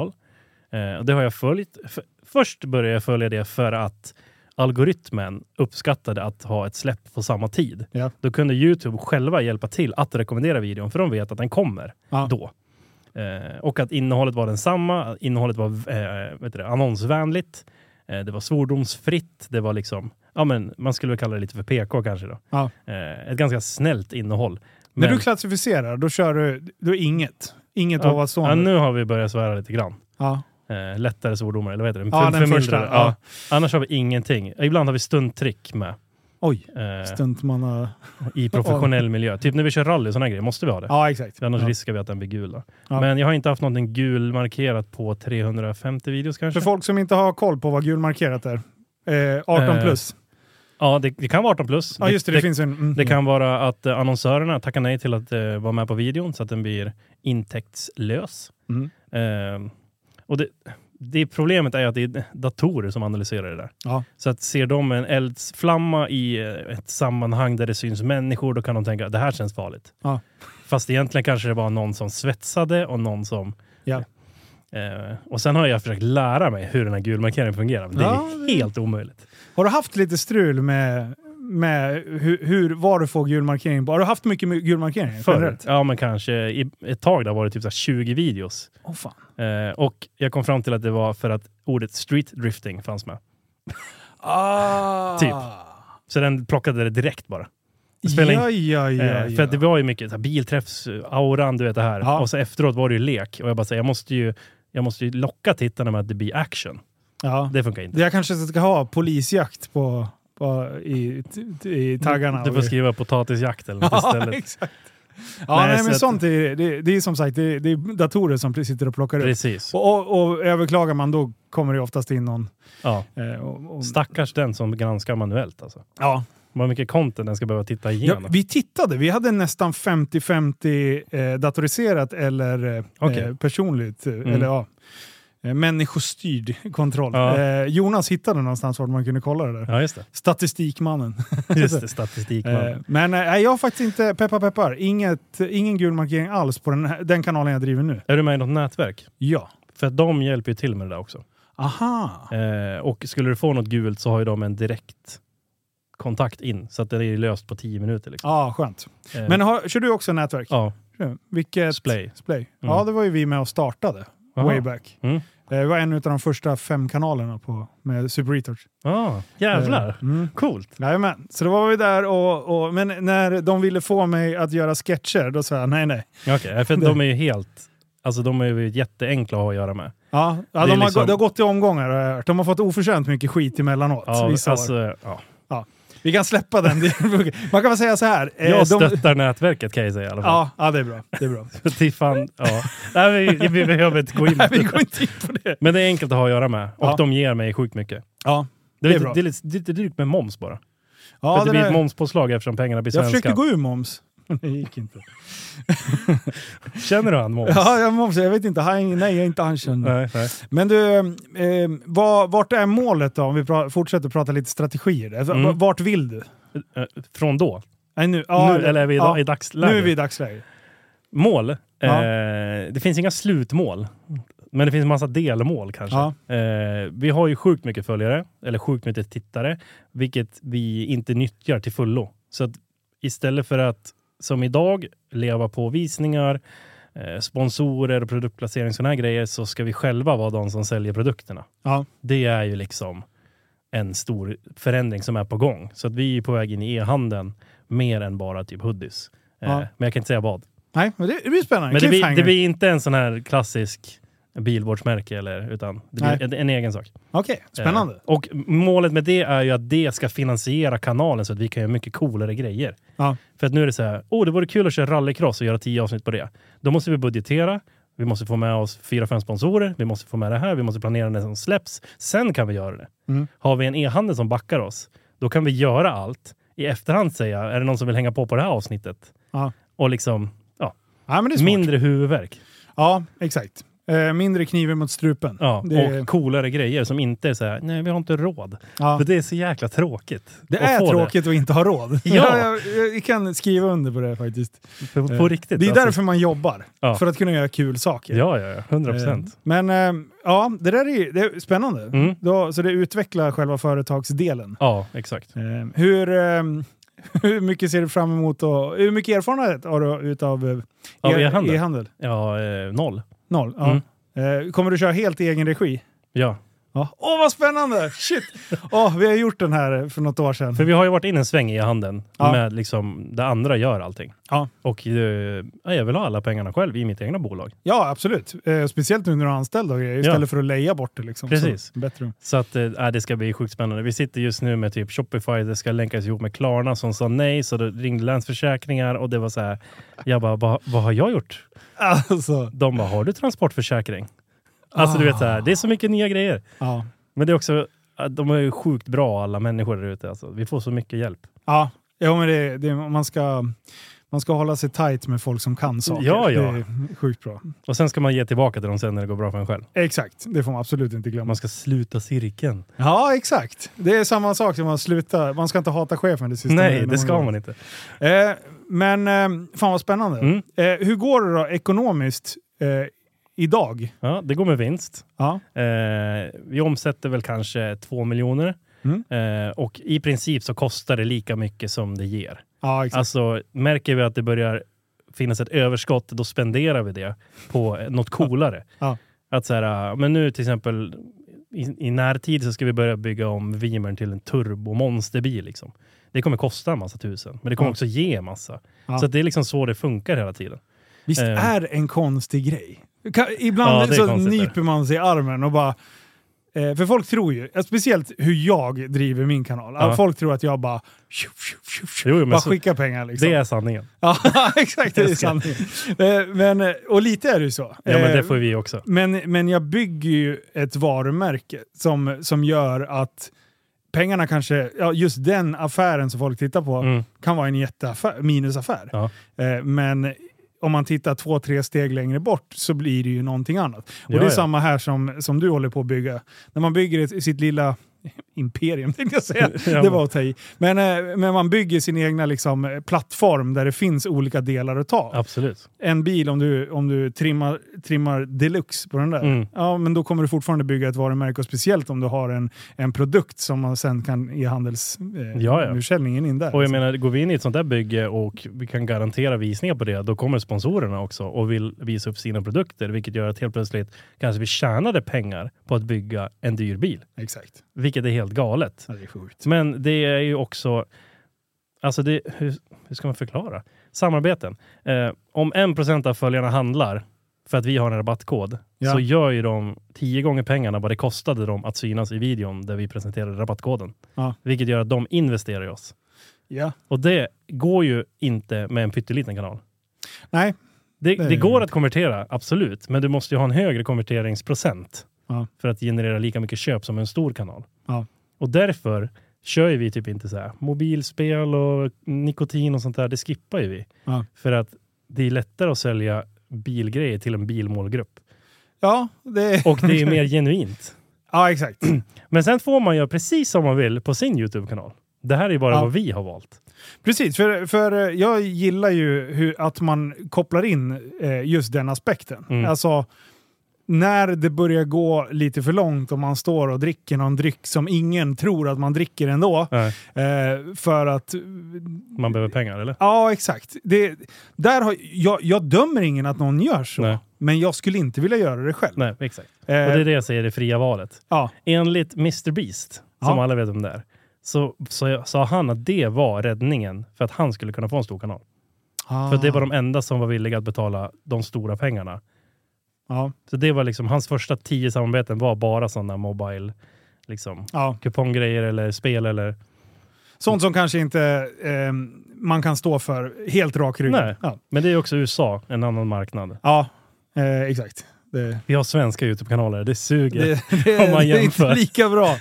Eh, och det har jag följt. F- först började jag följa det för att algoritmen uppskattade att ha ett släpp på samma tid.
Ja.
Då kunde Youtube själva hjälpa till att rekommendera videon, för de vet att den kommer
Ja.
då. Eh, och att innehållet var densamma, att innehållet var eh, vet du det, annonsvänligt, eh, det var svordomsfritt, det var liksom, ja men man skulle väl kalla det lite för PK kanske då.
Ja.
Eh, ett ganska snällt innehåll.
När
Men-
du klassificerar, då kör du, då är inget. Inget
ja, ja,
ovanstående.
nu har vi börjat svära lite grann.
Ja.
Eh, lättare svordomar, eller vad heter det?
Ja, den
Förmildrande.
första,
Ja.
ja.
Annars har vi ingenting. Ibland har vi stunttrick med.
Oj,
Eh,
stuntmanna...
I professionell miljö. Typ när vi kör rally, sådana grejer, måste vi ha det.
Ja, exakt.
För Annars
Ja.
riskerar vi att den blir gul. Då.
Ja.
Men jag har inte haft någonting gul markerat på 350 videos kanske.
För folk som inte har koll på vad gulmarkerat är. Eh, 18
Eh,
plus.
Ja, det, det kan vara 18 plus.
Ja, just det. Det,
det,
finns en... Mm,
det kan vara att eh, annonsörerna tackar nej till att eh, vara med på videon så att den blir intäktslös.
Mm.
Ehm, och det, det problemet är ju att det är datorer som analyserar det där.
Ja.
Så att ser de en eldsflamma i eh, ett sammanhang där det syns människor, då kan de tänka att det här känns farligt.
Ja.
Fast egentligen kanske det var någon som svetsade och någon som...
Ja.
Eh, och sen har jag försökt lära mig hur den här gulmarkeringen fungerar. men Det
Ja,
är
det-
helt omöjligt.
Har du haft lite strul med, med hur, hur, var du får gulmarkering på? Har du haft mycket mu- gulmarkering?
Förut, ja men kanske i ett tag där var det typ så här 20 videos.
Åh fan.
Eh, och jag kom fram till att det var för att ordet street drifting fanns med.
Ah.
Typ. Så den plockade det direkt bara. Det spelar in-
ja, ja, ja,
Eh,
ja.
För att det var ju mycket så här, bilträffs-auran, du vet det här.
Ja.
Och så efteråt var det ju lek. Och jag bara säger, jag måste ju, jag måste ju locka tittarna med att det blir action.
ja.
Det funkar inte.
Jag kanske ska ha polisjakt på, på, i, i taggarna.
Du får skriva potatisjakt eller något
Ja,
istället.
exakt. Ja,
Nej,
nej,
så
men
att-
sånt är, det, det är som sagt, det, det är datorer som sitter och plockar upp.
Precis.
Och, och, och överklagar man då kommer det oftast in någon.
Ja.
Eh, och, och,
Stackars den som granskar manuellt alltså.
ja.
Vad mycket content den ska behöva titta
Ja,
igenom.
vi tittade, vi hade nästan 50-50 eh, datoriserat eller eh,
Okej. Mm.
eh, personligt, eh, eller ja, eh, människostyrd kontroll.
Ja.
Eh, Jonas hittade någonstans vart man kunde kolla det där.
Ja, just det.
Statistikmannen.
Just det, statistik.
Eh, men eh, nej, jag har faktiskt inte, peppar peppar, inget, ingen gul markering alls på den, här, den kanalen jag driver nu.
Är du med i något nätverk?
Ja.
För att de hjälper ju till med det där också.
Aha.
Eh, och skulle du få något gult så har ju de en direkt kontakt in. Så att det är löst på 10 minuter. Liksom.
Ja, skönt.
Eh,
Men har, kör du också nätverk?
ja,
Vilket?
Splay.
Splay.
Mm.
Ja, det var ju vi med och startade.
Aha.
Way back.
Mm.
Eh, Det var en av de första fem kanalerna på, med Super Retouch.
Ah, jävlar.
Eh, Mm.
Coolt.
Jajamän. Så då var vi där och, och... Men när de ville få mig att göra sketcher, då sa jag nej, nej.
Okej, för de är ju helt... Alltså de är ju jätteenkla att ha att göra med.
Ja,
är
ja de har,
liksom-
gå- det har gått i omgångar har jag hört. De har fått oförtjänt mycket skit emellanåt.
Ja,
vissa år.
alltså, ja.
Vi kan släppa den. Det- Man kan väl säga så här. eh,
Jag
de-
stöttar nätverket kan jag säga i alla fall.
Ja, ja, det är bra. Det är bra.
Det är fan, ja. Nej, vi, vi behöver inte gå in
Nej, vi går inte in på det.
Men det är enkelt att ha att göra med och
Ja.
de ger mig sjukt mycket.
Ja, Det
Det är,
är
lite,
bra.
det är lite, det är lite drygt med moms bara. för
ja
att det
den
blir ett
är-
momspåslag eftersom pengarna blir
jag
svenska.
försökte gå ur moms. men Det gick inte.
Känner du han moms?
Ja, jag momsar. Jag vet inte. Han, nej, jag är inte han känd.
Nej, nej.
Men du, eh, vad, vart är målet då? Om vi pra, fortsätter prata lite strategier. Alltså,
Mm.
v- Vart vill du?
Eh, Från då?
Nej, nu, ja,
nu, eller är vi i,
ja,
i dagsläget?
Nu är vi i dagsläget.
Mål?
Ja.
Eh, det finns inga slutmål. Men det finns massa delmål kanske.
Ja.
Eh, vi har ju sjukt mycket följare, eller sjukt mycket tittare, vilket vi inte nyttjar till fullo. Så att istället för att som idag leva på visningar, eh, sponsorer, produktplacering, sådana här grejer, så ska vi själva vara de som säljer produkterna.
Ja.
Det är ju liksom en stor förändring som är på gång. Så att vi är på väg in i e-handeln mer än bara typ hoodies. Eh,
Ja.
Men jag kan inte säga vad.
Nej, men det, det blir spännande.
Men det blir,
Cliffhanger.
det blir inte en sån här klassisk bilvårdsmärke, eller, utan det blir
Nej.
en, en egen sak.
Okej, spännande.
Eh, och målet med det är ju att det ska finansiera kanalen så att vi kan göra mycket coolare grejer.
Ja.
För att nu är det så här, åh oh, det vore kul att köra rallycross och göra tio avsnitt på det. Då måste vi budgetera, vi måste få med oss fyra, fem sponsorer, vi måste få med det här, vi måste planera när som släpps. Sen kan vi göra det.
Mm.
Har vi en e-handel som backar oss, då kan vi göra allt. I efterhand säga, är det någon som vill hänga på på det här avsnittet?
Ja.
Och liksom, ja,
Ja, men det är smart.
mindre huvudvärk.
Ja, exakt. Eh, mindre kniven mot strupen.
Ja,
det, är-
Och coolare grejer som inte är så här, nej vi har inte råd.
ja.
För det är så jäkla tråkigt.
det
att
är
få
tråkigt att inte ha råd.
Ja.
jag, jag kan skriva under på det faktiskt.
På,
Eh,
på riktigt.
Det är
alltså.
därför man jobbar.
Ja.
För att kunna göra kul saker.
Ja, ja, ja. 100 procent.
Eh, Men eh, ja, det där är, ju- det är spännande.
Mm.
Då, så det utvecklar själva företagsdelen.
Ja, exakt.
Eh, hur, eh, hur mycket ser du fram emot och hur mycket erfarenhet har du utav eh,
Av
e-
e-handel? Mm.
e-handel?
Ja, eh, noll.
Noll. Ja. Eh, kommer du köra helt i egen regi?
Ja.
Ja. Åh, vad spännande! Shit! Åh, vi har gjort den här för något år sedan.
För vi har ju varit in en sväng i handen
Ja.
med liksom där andra gör allting.
Ja.
Och eh, ja, jag vill ha alla pengarna själv i mitt egna bolag.
Ja, absolut. Eh, speciellt nu när du har anställd och grejer,
Ja.
istället för att leja bort det. Liksom.
Precis.
Så, bättre.
Så att, eh, äh, det ska bli sjukt spännande. Vi sitter just nu med typ Shopify, det ska länkas ihop med Klarna som sa nej, så det ringde Länsförsäkringar och det var så här. Jag bara, "Va- vad har jag gjort?
Alltså,
De bara, har du transportförsäkring? Alltså du vet, så här, det är så mycket nya grejer.
ja.
Men det är också, att de är ju sjukt bra alla människor där ute. Alltså. Vi får så mycket hjälp.
Ja, ja men det, det, man, ska, man ska hålla sig tight med folk som kan saker.
Ja, ja.
Det är sjukt bra.
Och sen ska man ge tillbaka till dem sen när det går bra för en själv.
Exakt, det får man absolut inte glömma.
Man ska sluta cirkeln.
Ja, exakt. Det är samma sak som att sluta. Man ska inte hata chefen det sista.
Nej, det ska man inte.
inte. Eh, men eh, fan vad spännande.
Mm.
Eh, hur går det då ekonomiskt eh, idag?
Ja, det går med vinst.
Ja.
Eh, vi omsätter väl kanske två miljoner.
Mm.
Eh, och i princip så kostar det lika mycket som det ger.
Ja, exakt.
Alltså, märker vi att det börjar finnas ett överskott, då spenderar vi det på eh, något coolare.
Ja.
Att så här, ah, men nu till exempel i, i närtid så ska vi börja bygga om Vimern till en turbomonsterbil. Liksom. Det kommer kosta en massa tusen, men det kommer
Ja.
också ge en massa.
Ja.
Så att det är liksom så det funkar hela tiden.
Visst
eh.
är det en konstig grej? Kan, ibland
Ja, det är
så
konstigt där.
nyper man sig i armen och bara... Eh, för folk tror ju, eh, speciellt hur jag driver min kanal,
Ja.
att folk tror att jag bara... Tju, tju, tju, tju,
Jo, jo, men
bara
så-
skickar pengar liksom.
Det är sanningen.
Ja, exakt. Det är sant. Eh, men, eh, och lite är det ju så.
Ja, men det
Eh,
får vi också.
Men, men jag bygger ju ett varumärke som, som gör att pengarna kanske, ja, just den affären som folk tittar på
Mm.
kan vara en jätteaffär, minusaffär.
Ja.
Eh, men om man tittar två, tre steg längre bort så blir det ju någonting annat. Och
Ja,
det är
ja.
samma här som, som du håller på att bygga. När man bygger ett, sitt lilla imperium tänkte jag säga.
Ja,
Det var att ta i. Men, eh, men man bygger sin egna liksom, eh, plattform där det finns olika delar att ta
Absolut.
en bil om du, om du trimmar, trimmar deluxe på den där.
Mm.
Ja, men då kommer du fortfarande bygga ett varumärke och speciellt om du har en, en produkt som man sen kan ge handelsförsäljningen eh,
Ja, ja.
försäljningen in där.
Och jag menar, går vi in i ett sånt där bygge och vi kan garantera visningar på det, då kommer sponsorerna också och vill visa upp sina produkter, vilket gör att helt plötsligt kanske vi tjänade pengar på att bygga en dyr bil,
Exakt.
vilket är helt galet.
Ja, det är sjukt.
Men det är ju också, alltså det, hur, hur ska man förklara? Samarbeten. Eh, om 1% av följarna handlar för att vi har en rabattkod,
Ja.
så gör ju de 10 gånger pengarna vad det kostade dem att synas i videon där vi presenterade rabattkoden.
Ja.
Vilket gör att de investerar i oss.
Ja.
Och det går ju inte med en pytteliten kanal.
Nej.
Det,
Nej.
det går att konvertera, absolut, men du måste ju ha en högre konverteringsprocent
Ja.
för att generera lika mycket köp som en stor kanal.
Ja.
Och därför kör ju vi typ inte så här mobilspel och nikotin och sånt där, det skippar ju vi.
Ja.
För att det är lättare att sälja bilgrejer till en bilmålgrupp.
Ja, det...
Och det är mer genuint.
ja, exakt.
Men sen får man göra precis som man vill på sin YouTube-kanal. Det här är ju bara
Ja.
vad vi har valt.
Precis, för, för eh, jag gillar ju hur, att man kopplar in eh, just den aspekten.
Mm.
Alltså, när det börjar gå lite för långt och man står och dricker någon dryck som ingen tror att man dricker ändå.
Nej,
Eh, för att...
Man behöver pengar, eller?
Ja, exakt. Det, där har, jag, jag dömer ingen att någon gör så,
Nej.
men jag skulle inte vilja göra det själv.
Nej, exakt. Och det
Eh,
är det jag säger, det fria valet.
ja,
Enligt Mr Beast, som
Ja.
alla vet om det är, så så sa han att det var räddningen för att han skulle kunna få en stor kanal.
ah,
För att det var de enda som var villiga att betala de stora pengarna.
Ah. ja,
Så det var liksom, hans första tio samarbeten var bara sådana mobile, liksom
ja.
kuponggrejer eller spel eller...
Sånt som kanske inte eh, man kan stå för helt rak rygg.
Nej.
Ja,
Men det är också USA, en annan marknad.
ja eh, exakt. Det,
Vi har svenska YouTube-kanaler, det suger.
det, det,
Om man
det är inte
jämför.
lika bra.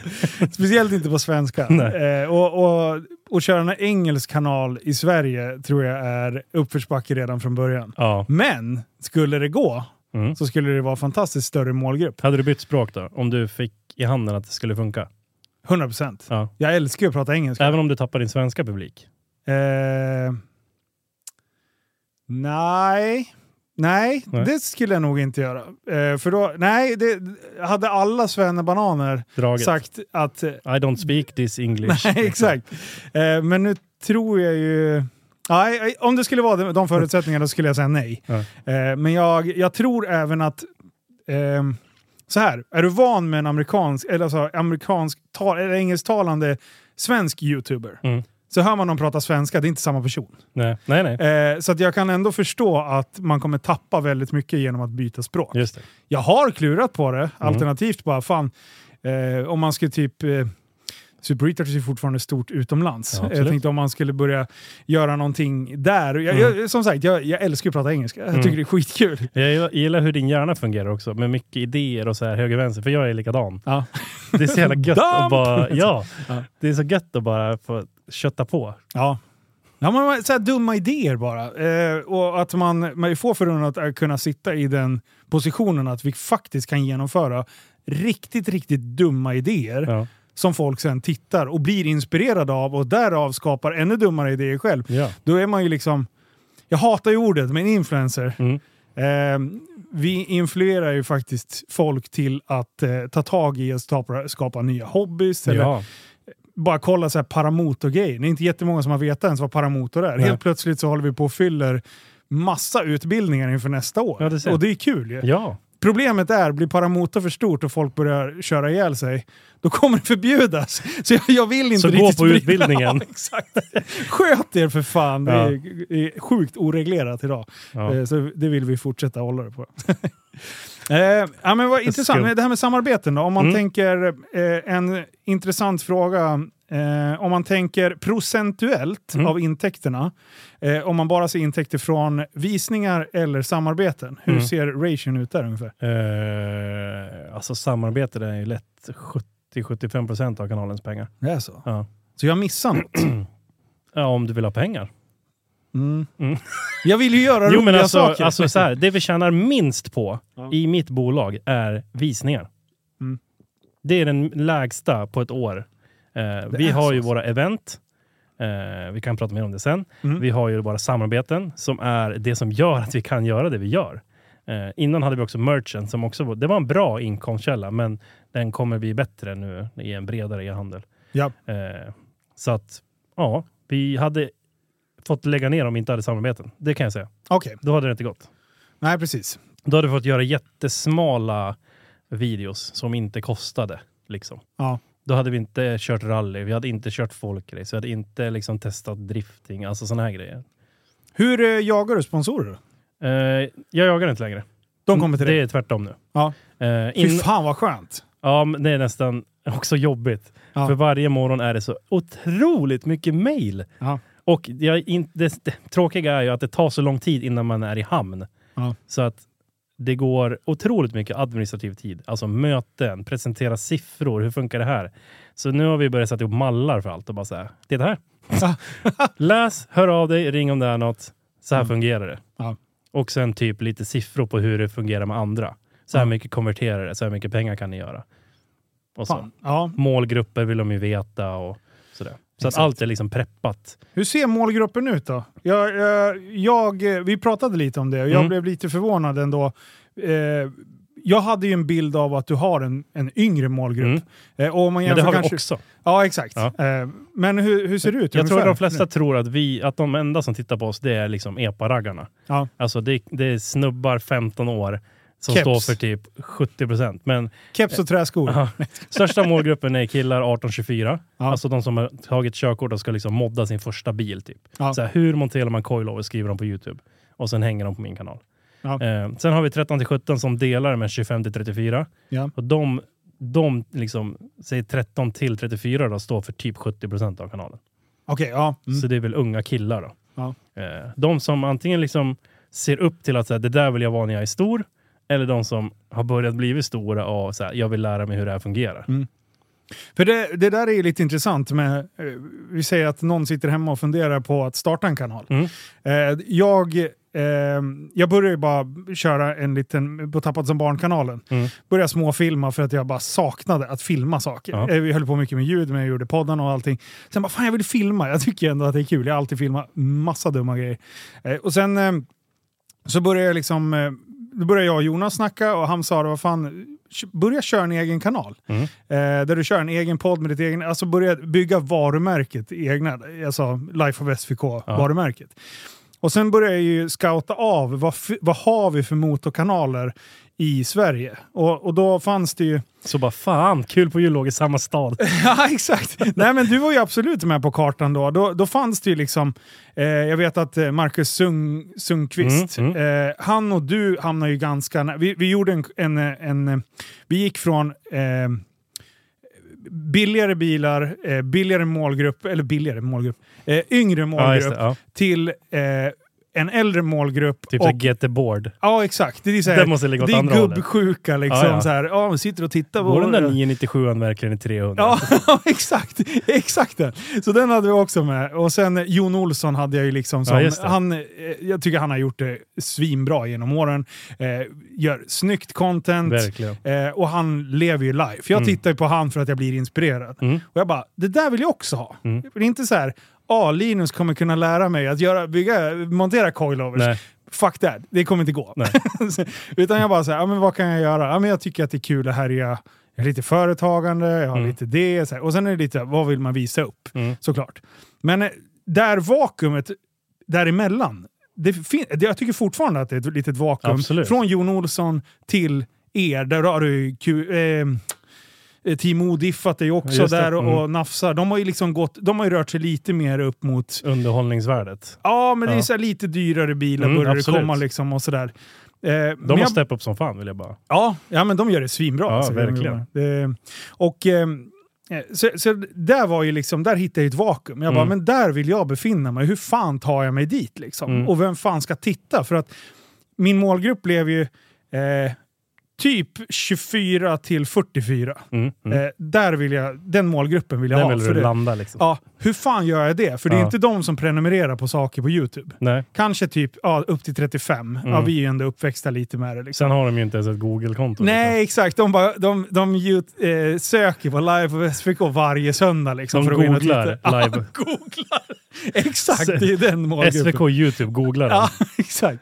Speciellt inte på svenska.
Nej.
Eh, och, och, och köra en engelsk kanal i Sverige tror jag är uppförsbacke redan från början.
Ja.
Men skulle det gå
Mm.
så skulle det vara fantastiskt större målgrupp.
Hade du bytt språk då? Om du fick i handen att det skulle funka?
100 procent.
Ja.
Jag älskar ju att prata engelska.
Även om du tappar din svenska publik?
Eh, nej. Nej,
Nej.
det skulle jag nog inte göra. Eh, för då, nej, det, hade alla svennebananer
Draget?
sagt att... eh,
I don't speak this English. Liksom.
Nej, exakt. Eh, men nu tror jag ju... Nej, eh, om det skulle vara de- de förutsättningarna då skulle jag säga nej.
Ja.
Eh, men jag, jag tror även att... ehm, så här, är du van med en amerikansk, eller alltså amerikansk, tal, eller engelsktalande svensk youtuber
Mm.
så hör man dem prata svenska, det är inte samma person.
Nej, nej. nej.
Eh, så att jag kan ändå förstå att man kommer tappa väldigt mycket genom att byta språk.
Just det.
Jag har klurat på
Mm.
det, alternativt bara fan, eh, om man skulle typ eh, Super Retouch är ju fortfarande stort utomlands. Eh,
Ja, absolut.
jag tänkte om man skulle börja göra någonting där. Och Jag,
Mm.
jag, som sagt, jag, jag älskar ju att prata engelska. Jag
Mm.
tycker det är skitkul.
Jag gillar- gillar hur din hjärna fungerar också, med mycket idéer och så här höger vänster, för jag är likadan.
Ja.
Det är så jävla gött
Damp!
att bara... Ja,
Ja.
det är så gött att bara få kötta på.
Ja. Ja, men så här dumma idéer bara. Eh, och att man, man får förunnat att eh, kunna sitta i den positionen att vi faktiskt kan genomföra riktigt, riktigt dumma idéer
Ja.
som folk sen tittar och blir inspirerade av och därav skapar ännu dummare idéer själv.
Ja.
Då är man ju liksom... Jag hatar ju ordet, men influencer.
Mm.
Eh, vi influerar ju faktiskt folk till att eh, ta tag i och skapa, skapa nya hobbys. Eller
Ja.
bara kolla så här paramotor-grejen. Det är inte jättemånga som har vetat ens vad paramotor är.
Nej.
Helt plötsligt så håller vi på och fyller massa utbildningar inför nästa år.
Ja, det ser jag.
och det är kul ju.
ja,
Problemet är, blir paramotor för stort och folk börjar köra ihjäl sig, då kommer det förbjudas. Så jag, jag vill inte
Så gå
riktigt
på
sprida-
utbildningen.
Ja, exakt. Sköt er för fan. Det
Ja.
är, är sjukt oreglerat idag.
ja.
Eh, Så det vill vi fortsätta hålla det på. eh, ja, men vad intressant.
skumt.
Men Det här med samarbeten då. Om man
Mm.
tänker eh, en intressant fråga. Eh, om man tänker procentuellt
Mm.
av intäkterna. Eh, om man bara ser intäkter från visningar eller samarbeten. Hur
Mm.
ser ration ut där ungefär?
Eh, alltså samarbete, det är ju lätt 70-75 procent av kanalens pengar.
Det är så.
Ja.
Så jag missar något.
Ja, om du vill ha pengar.
Mm.
Mm.
Jag vill ju göra
Jo,
roliga
men alltså,
saker.
alltså så här, det vi tjänar minst på
Ja.
i mitt bolag är visningar.
Mm.
Det är den lägsta på ett år. Eh, vi
är
har
så
ju
alltså.
våra event. Eh, vi kan prata mer om det sen.
Mm.
Vi har ju våra samarbeten som är det som gör att vi kan göra det vi gör. Eh, innan hade vi också merchant som också var, det var en bra inkomstkälla, men den kommer bli bättre nu i en bredare e-handel.
Ja.
Eh, så att, ja, vi hade fått lägga ner om vi inte hade samarbeten. Det kan jag säga.
Okej,
Då hade det inte gått.
nej precis.
Då hade du fått göra jättesmala videos som inte kostade. Liksom.
Ja.
Då hade vi inte kört rally, vi hade inte kört folkrace, vi hade inte liksom, testat drifting, alltså sådana här grejer.
Hur eh, jagar du sponsorer? då?
Eh, jag jagar inte längre.
De kommer till
det
dig.
är tvärtom nu.
Ja.
Eh,
Fy
Mm, in,
fan vad skönt.
ja, men det är nästan också jobbigt.
Ja.
För varje morgon är det så otroligt mycket mejl.
Ja.
Och jag, är in, det, det tråkiga är ju att det tar så lång tid innan man är i hamn.
Ja.
Så att det går otroligt mycket administrativ tid. Alltså möten, presentera siffror, hur funkar det här? Så nu har vi börjat sätta ihop mallar för allt och bara så här, titta här.
Ja.
Läs, hör av dig, ring om det är något. Så här
Mm.
fungerar det.
Ja.
Och sen typ lite siffror på hur det fungerar med andra. Så här
Ja.
mycket konverterar det, så här mycket pengar kan ni göra. Och så.
Fan. Ja,
Målgrupper vill de ju veta och sådär. Så att
Exakt.
allt är liksom preppat.
Hur ser målgruppen ut då? Jag, jag, jag, eh, vi pratade lite om det och jag
Mm.
blev lite förvånad ändå. Eh, jag hade ju en bild av att du har en, en yngre målgrupp.
Mm.
Eh, och om man
Men
jämför
det har vi
kanske...
också.
Ja, exakt.
Ja.
Eh, men hur, hur ser det ut
Jag tror
ungefär?
att de flesta tror att, vi, att de enda som tittar på oss, det är liksom epa-raggarna.
Ja.
Alltså det, det är snubbar 15 år som
Keps.
står för typ 70 procent. Men
Keps och träskor.
aha, största målgruppen är killar 18-24.
Ja.
Alltså de som har tagit körkort och ska liksom modda sin första bil. Typ.
Ja.
Så här, hur monterar man coilover skriver de på YouTube. Och sen hänger de på min kanal.
Ja.
Eh, sen har vi 13-17 som delar med 25-34.
Ja.
Och de, de liksom, säg 13-34 då, står för typ 70 procent av kanalen.
Okej, ja. Mm.
Så det är väl unga killar då.
Ja.
Eh, De som antingen liksom ser upp till att så här, det där vill jag vara när jag är stor. Eller de som har börjat bli stora och så här, jag vill lära mig hur det här fungerar.
För det, det där är ju lite intressant med, eh, vi säger att någon sitter hemma och funderar på att starta en kanal.
Mm.
Eh, jag eh, ehm, jag började ju bara köra en liten, på Tappad som barn-kanalen,
Mm.
började småfilma för att jag bara saknade att filma saker.
Ja.
Eh, Vi höll på mycket med ljud, men jag gjorde podden och allting. Sen bara, fan jag vill filma, jag tycker ändå att det är kul. Jag har alltid filmat massa dumma grejer. Eh, och sen eh, så började jag liksom, eh, då började jag och Jonas snacka och han sa, det, vad fan, kö- börja köra en egen kanal.
Mm.
Eh, där du kör en egen podd med ditt egen, alltså börja bygga varumärket, egna, alltså Life of SVK-varumärket. Och sen började jag ju scouta av vad, f- vad har vi för motorkanaler i Sverige? Och, och då fanns det ju...
Så bara fan, kul på jullov i samma stad.
ja, exakt! Nej, men du var ju absolut med på kartan då. Då, då fanns det ju liksom... Eh, jag vet att eh, Marcus Sung, Sundqvist,
Mm,
Eh, han och du hamnade ju ganska... nä- Vi, vi gjorde en, en, en, en... Vi gick från... Eh, billigare bilar, eh, billigare målgrupp, eller billigare målgrupp, eh, yngre
Ja, just
målgrupp
det. Ja.
till eh, en äldre målgrupp.
Typ
och,
såhär get the board.
ja, exakt. Det är, så här,
Det måste ligga åt
det är
andra hållet.
gubbsjuka liksom.
Ja, ja.
Så här, ja, man sitter och tittar på...
Går den där 997 verkligen i 300?
Ja, exakt. Exakt den. Så den hade vi också med. Och sen eh, Jon Olsson hade jag ju liksom som...
Ja, just det.
han, eh, jag tycker han har gjort det svinbra genom åren. Eh, gör snyggt content.
Verkligen.
Eh, och han lever ju live. Jag
Mm.
tittar ju på han för att jag blir inspirerad.
Mm.
Och jag bara, det där vill jag också ha.
Mm.
Det är inte så här, ah, Linus kommer kunna lära mig att göra, bygga, montera coilovers.
Nej.
Fuck that, det kommer inte gå.
Nej.
Utan jag bara så här, ah, men vad kan jag göra? Ah, men jag tycker att det är kul att härja. Jag är lite företagande, jag har
Mm.
lite det. Så här. Och sen är det lite, vad vill man visa upp?
Mm.
Såklart. Men eh, där vakuumet däremellan, det fin- det, jag tycker fortfarande att det är ett litet vakuum.
Absolut.
Från Jon Olsson till er, där har du ju Q, eh, eh, Timo diffat är ju också
Just det.
där och,
Mm.
och nafsar. De har ju liksom gått, de har ju rört sig lite mer upp mot
Underhållningsvärdet.
Ja, men det är
Ja.
så här lite dyrare bilar
Mm,
börjar
absolut.
det komma liksom och sådär. Eh, men
De har
jag-
step upp som fan vill jag bara.
ja, ja, men de gör det svinbra.
Ja, verkligen.
Det, och, eh, så, så där var ju liksom, där hittade jag ju ett vakuum. Jag bara,
Mm.
men där vill jag befinna mig. Hur fan tar jag mig dit liksom?
Mm.
Och vem fan ska titta? För att min målgrupp blev ju eh, typ 24 till 44.
Mm. Mm.
Eh, där vill jag, den målgruppen vill jag
Där
ha.
vill
för
du
det-
landa liksom.
Ja, hur fan gör jag det? För det är
Ja.
inte de som prenumererar på saker på YouTube.
Nej.
Kanske typ ja, upp till 35. Ja,
Mm.
vi är ju ändå uppväxta lite med det. Liksom.
Sen har de ju inte ens ett Google-konto.
Nej, exakt. De, bara, de, de ju- eh, söker på live på SVK varje söndag. Liksom,
De
för att gå in och
googlar
titta.
live.
Ja, googlar. Exakt, det är den
Liksom.
målgruppen.
SVK YouTube googlar
Ja,
dem.
exakt.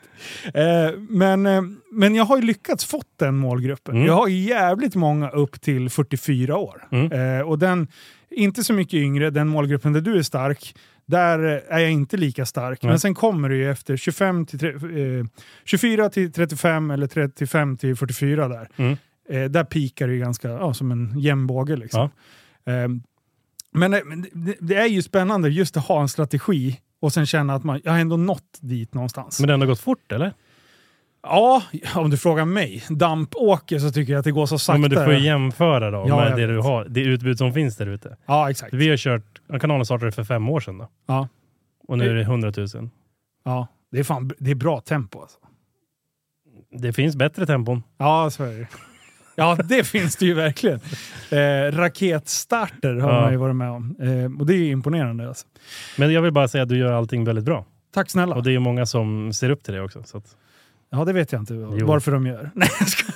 Eh, men, eh, men jag har ju lyckats fått den målgruppen.
Mm.
Jag har ju jävligt många upp till 44 år.
Mm.
Eh, och den, inte så mycket yngre, den målgruppen där du är stark, där eh, är jag inte lika stark.
Nej.
Men sen kommer det ju efter 25 till, tre- eh, 24 till 35 eller 35 till 44 där.
Mm.
Eh, där pikar det ju ganska, ja, som en jämnbåge liksom. Eh, men eh, men det, det är ju spännande just att ha en strategi och sen känna att man, jag har ändå nått dit någonstans.
Men det har ändå gått fort eller?
ja, om du frågar mig, dampåker så tycker jag att det går så
Ja,
sakta.
men du får ju jämföra då
Ja, jag
med det
vet.
du har. Det utbud som finns där ute.
ja, exakt.
Vi har kört, kanalen startade för fem år sedan då.
Ja.
Och nu är det 100 000.
Ja, det är, fan, det är bra tempo alltså.
Det finns bättre tempon.
Ja, så är det. Ja, det finns det ju verkligen. Eh, raketstarter har
Ja.
man ju varit med om. Eh, och det är ju imponerande. Alltså.
Men jag vill bara säga att du gör allting väldigt bra.
Tack
Och
snälla.
det är ju många som ser upp till dig också. Så att,
Ja, det vet jag inte
Jo.
varför de gör. Nej, jag skojar.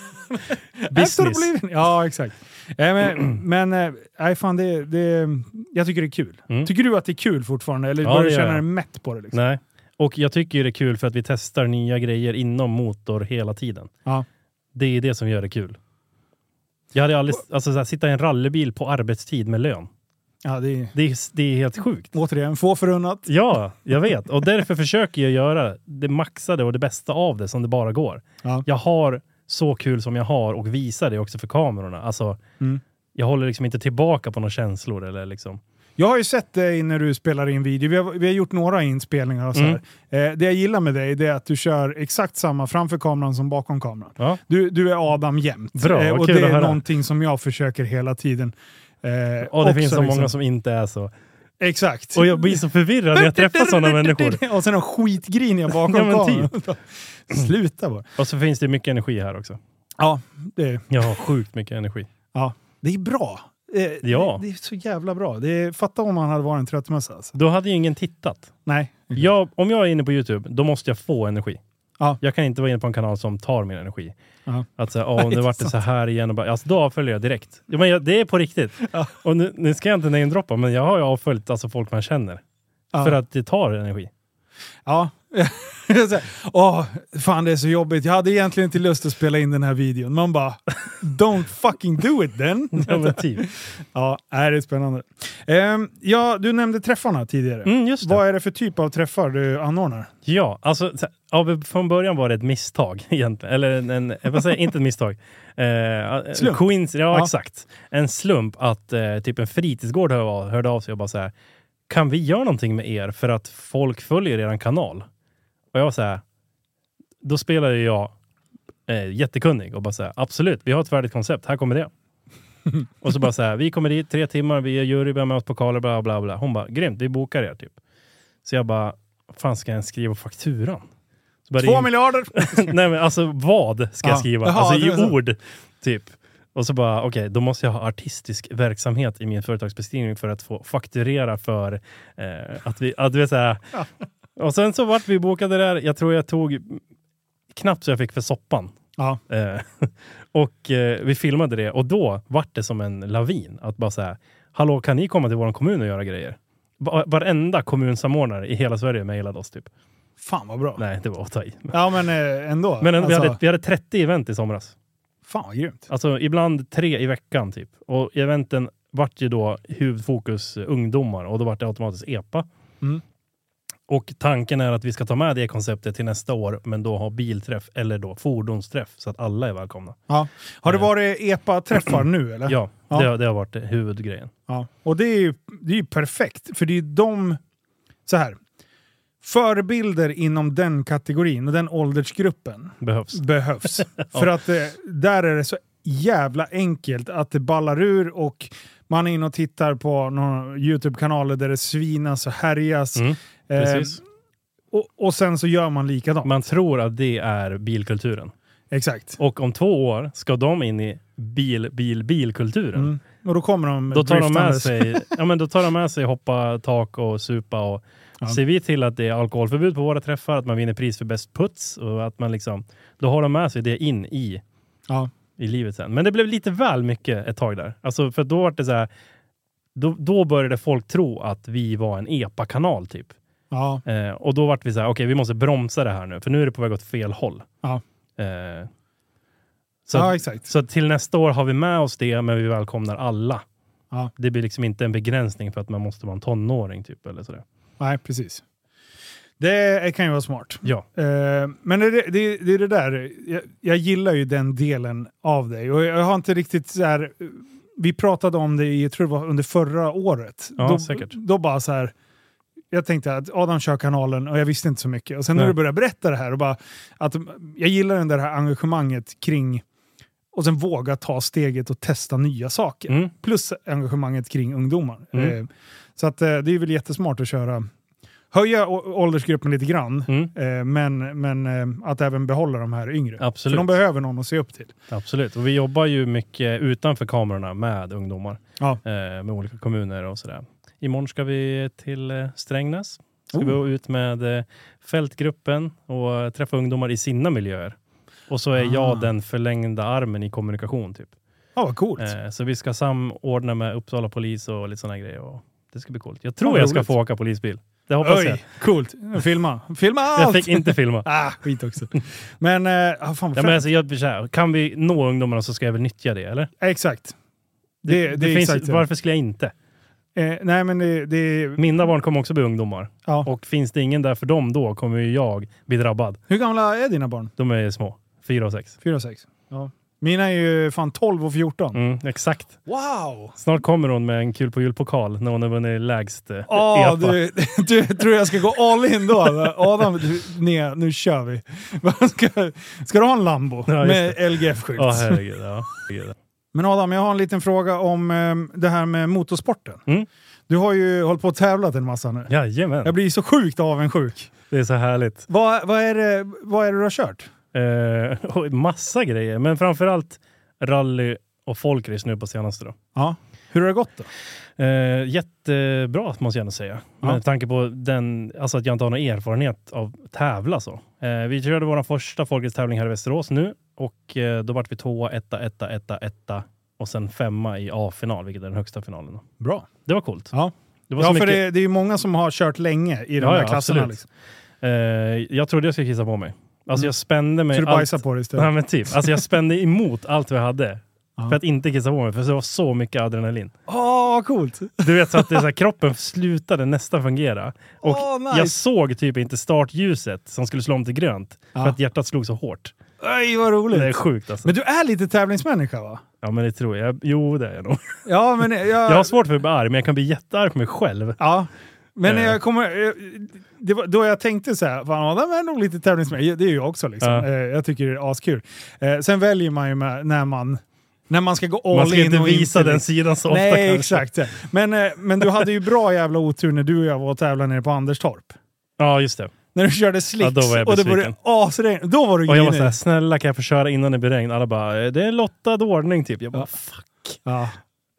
Business.
Efter att bli- Ja, exakt. Eh, men men eh, nej, fan, det, det, jag tycker det är kul.
Mm.
Tycker du att det är kul fortfarande? Eller
Ja,
börjar du
det gör
känna
jag.
dig mätt på det? Liksom?
nej. Och jag tycker ju det är kul för att vi testar nya grejer inom motor hela tiden.
Ja.
Det är det som gör det kul. Jag hade aldrig, alltså så här, sitta i en rallybil på arbetstid med lön.
Ja, det är
Det är, det är helt sjukt.
återigen få förunnat.
Ja, jag vet. Och därför försöker jag göra det maxade och det bästa av det som det bara går.
Ja.
Jag har så kul som jag har och visar det också för kamerorna. Alltså,
Mm.
Jag håller liksom inte tillbaka på några känslor eller liksom.
Jag har ju sett dig när du spelar in video. Vi har, vi har gjort några inspelningar och så här.
Mm.
Eh, det jag gillar med dig det är att du kör exakt samma framför kameran som bakom kameran.
Ja.
Du, du är Adam jämt. Eh,
Bra,
och
kul
det
att
är
höra.
någonting som jag försöker hela tiden. Eh,
Och det
också
finns så
liksom.
många som inte är så.
Exakt.
Och jag blir så förvirrad när jag träffar sådana människor.
Och sen de skitgriniga bakom
Ja, men typ.
kameran. Sluta bara.
Och så finns det mycket energi här också.
Ja, det,
Jag har sjukt mycket energi.
ja, det är bra. Eh,
Ja.
det, det är så jävla bra. Det är, fatta om han hade varit en tröttmössa. Alltså.
Då hade ju ingen tittat.
Nej.
Jag, om jag är inne på YouTube, då måste jag få energi.
Mhm. Ja.
Jag kan inte vara inne på en kanal som tar min energi.
Ja.
Att säga, "Åh, om det vart det så här igen, och bara, alltså, då avföljer jag direkt. Ja, men jag, det är på riktigt.
Ja.
Och nu, nu ska jag inte namedroppa, men jag har ju avföljt alltså, folk man känner.
Ja.
För att det tar energi.
Ja. Så här, Åh, fan det är så jobbigt. Jag hade egentligen inte lust att spela in den här videon. Man bara, don't fucking do it then.
Ja, men typ.
Ja, nej, det är spännande. Ehm, ja, du nämnde träffarna tidigare.
Mm, just det.
Vad är det för typ av träffar du anordnar?
Ja, alltså så här, ja, från början var det ett misstag egentligen. Eller en, en jag vill säga, inte ett misstag. Eh,
Slump.
Coinc- ja,
Ja.
exakt. En slump att eh, typ en fritidsgård hörde av, hörde av sig och bara så här. Kan vi göra någonting med er för att folk följer er kanal? Och jag var så här. Då spelade jag eh, jättekunnig och bara så här. Absolut, vi har ett färdigt koncept. Här kommer det. och så bara så här. Vi kommer dit tre timmar. Vi är jury, vi har med oss pokaler, bla bla bla. Hon bara grymt, vi bokar er typ. Så jag bara fan ska jag ens skriva fakturan? Så bara
Två
ring-
miljarder!
Nej men alltså vad ska jag
Ja.
skriva?
Jaha,
alltså
det var
i
så.
ord, typ. Och så bara, okej, då måste jag ha artistisk verksamhet i min företagsbeskrivning för att få fakturera för eh, att vi, att du vet såhär. Och sen så vart vi bokade där, jag tror jag tog knappt så jag fick för soppan.
Ja.
Eh, och eh, vi filmade det och då vart det som en lavin. Att bara såhär, hallå kan ni komma till vår kommun och göra grejer? Va- Varenda kommunsamordnare i hela Sverige mejlade oss typ.
Fan vad bra.
Nej, det var att ta i.
Ja, men eh, ändå.
Men en-
Alltså,
vi, hade, vi hade 30 event i somras.
Fan vad grymt.
Alltså ibland tre i veckan typ. Och i eventen vart ju då huvudfokus eh, ungdomar och då vart det automatiskt EPA.
Mm.
Och tanken är att vi ska ta med det konceptet till nästa år, men då ha bilträff eller då fordonsträff så att alla är välkomna.
Ja. Har det
Eh.
varit EPA-träffar nu eller?
Ja,
Ja.
Det, har- det har varit eh, huvudgrejen.
Ja. Och det är ju det är ju perfekt, för det är ju de... Så här. Förebilder inom den kategorin och den åldersgruppen
Behövs.
behövs. För att eh, där är det så jävla enkelt att det ballar ur och man är inne och tittar på några YouTube-kanaler där det svinas och härjas.
Mm,
eh,
precis.
och, och sen så gör man likadant.
Man tror att det är bilkulturen.
Exakt.
Och om två år ska de in i bil, bil, bilkulturen.
Mm. Och då kommer de
Då tar, de med
driftandes.
sig, ja, men då tar de med sig hoppa tak och supa. Och
Ja.
Ser vi till att det är alkoholförbud på våra träffar, att man vinner pris för bäst puts och att man liksom, då har de med sig det in i,
Ja.
i livet sen. Men det blev lite väl mycket ett tag där. Alltså, för då var det så här, då, då började folk tro att vi var en EPA-kanal typ.
Ja.
Eh, och då vart vi så här, okej vi måste bromsa det här nu, för nu är det på väg åt fel håll.
Ja.
Eh, så
ja, exakt.
så till nästa år har vi med oss det, men vi välkomnar alla.
Ja.
Det blir liksom inte en begränsning för att man måste vara en tonåring typ eller sådär.
Nej, precis. Det kan ju vara smart.
Ja,
Eh, men det, det, det är det där, jag, jag gillar ju den delen av dig. Och jag har inte riktigt så här, eh, vi pratade om det i, jag tror det var under förra året.
Ja,
då,
säkert.
då bara så här, jag tänkte att Adam kör kanalen och jag visste inte så mycket. Och sen när
Nej.
du började berätta det här och bara, att jag gillar det där engagemanget kring och sen våga ta steget och testa nya saker.
mm.
Plus engagemanget kring ungdomar.
Mm.
Eh, Så att, eh, det är väl jättesmart att köra, höja å- åldersgruppen lite grann.
Mm.
Eh, men men eh, att även behålla de här yngre. För
absolut.
de behöver någon att se upp till.
absolut. Och vi jobbar ju mycket utanför kamerorna med ungdomar.
Ja.
Eh, med olika kommuner och sådär. Imorgon ska vi till eh, Strängnäs. Ska
Oh.
vi gå ut med eh, fältgruppen och eh, träffa ungdomar i sina miljöer. Och så är
Ah.
jag den förlängda armen i kommunikation typ.
Ja, vad coolt.
Eh, så vi ska samordna med Uppsala polis och lite sådana grejer. Och det ska bli coolt. Jag tror
Vad
jag ska
roligt.
få åka polisbil. Det hoppas jag.
Oj, coolt. Filma. Filma
Jag
allt!
fick inte filma.
Ah, skit också. Men, eh, ah, fan vad
Ja, men
fränt.
alltså, jag, blir så här, kan vi nå ungdomarna så ska jag väl nyttja det, eller?
Exakt. Det, det, är
finns,
exakt det.
varför skulle jag inte?
Eh, nej, men det, det
Mina barn kommer också bli ungdomar.
ja.
Och finns det ingen där för dem då kommer ju jag bli drabbad.
Hur gamla är dina barn?
De är små. Fyra och sex.
Fyra och sex? Ja. Mina är ju fan 12 och 14.
Mm, exakt.
Wow!
Snart kommer hon med en kul på julpokal när hon har vunnit lägst eh,
Ah,
EPA.
du, du tror jag ska gå all in då? Adam, du, nej, nu kör vi. Vad Ska, ska du ha en Lambo
Ja, just
med LGF-skylt?
Ja, herregud. Ja. herregud.
Men Adam, jag har en liten fråga om eh, det här med motorsporten.
Mm.
Du har ju hållit på och tävlat en massa nu. Jag
Jajamän,
blir så sjukt avundsjuk.
det är så härligt.
Vad, vad, är det, vad är det du har kört?
Eh, och massa grejer, men framförallt rally och folkrace nu på senaste. Då.
Ja. Hur har det gått då?
Eh, jättebra måste jag ändå säga.
Ja.
Med tanke på den, alltså att jag inte har någon erfarenhet av tävla så. Eh, vi körde vår första Folkets tävling här i Västerås nu och eh, då vart vi tvåa, etta, etta, etta, etta och sen femma i A-final, vilket är den högsta finalen. Då.
Bra.
Det var coolt.
Ja.
Det var
Ja,
så
för
mycket,
det, det är ju många som har kört länge i de
Ja,
här
ja,
klasserna.
absolut.
Liksom.
eh, jag trodde jag skulle kissa på mig. Alltså
Mm.
jag spände mig.
Så du
allt-
bajsar på det istället.
Nej, men typ. Alltså jag spände emot allt vi hade.
Ja.
För att inte kissa på mig, för det var så mycket adrenalin.
Åh, vad coolt!
Du vet, så att det, är så här, kroppen slutade nästan fungera. Och
Åh,
Jag
nice!
såg typ inte startljuset som skulle slå om till grönt
Ja.
för att hjärtat slog så hårt.
Aj, vad roligt!
Det är sjukt alltså.
Men du är lite tävlingsmänniska va?
Ja men det tror jag. Jo det är jag nog.
Ja, men jag...
Jag har svårt för att bli arg men jag kan bli jättearg på mig själv.
Ja. Men
Eh.
jag kommer, eh, det var då jag tänkte så här, fan Adam är nog lite tävlingsmässig. Det är jag också liksom.
Ja.
Eh, Jag tycker det är askul. Eh, Sen väljer man ju med, när man, när man ska gå all
Man ska
in
inte
och
visa
inte, liksom.
den sidan så ofta
Nej,
kanske.
exakt. Men, eh, men du hade ju bra jävla otur när du och jag var och tävlade nere på Anderstorp.
Ja just det.
När du körde slicks
Ja, då var jag
och det
besviken.
började asregna. Då var du
Och jag var
grinig.
såhär, snälla kan jag få köra innan det blir regn? Alla bara, "Eh, det är lottad ordning typ. Jag bara,
Ja.
fuck.
Ja. Äh,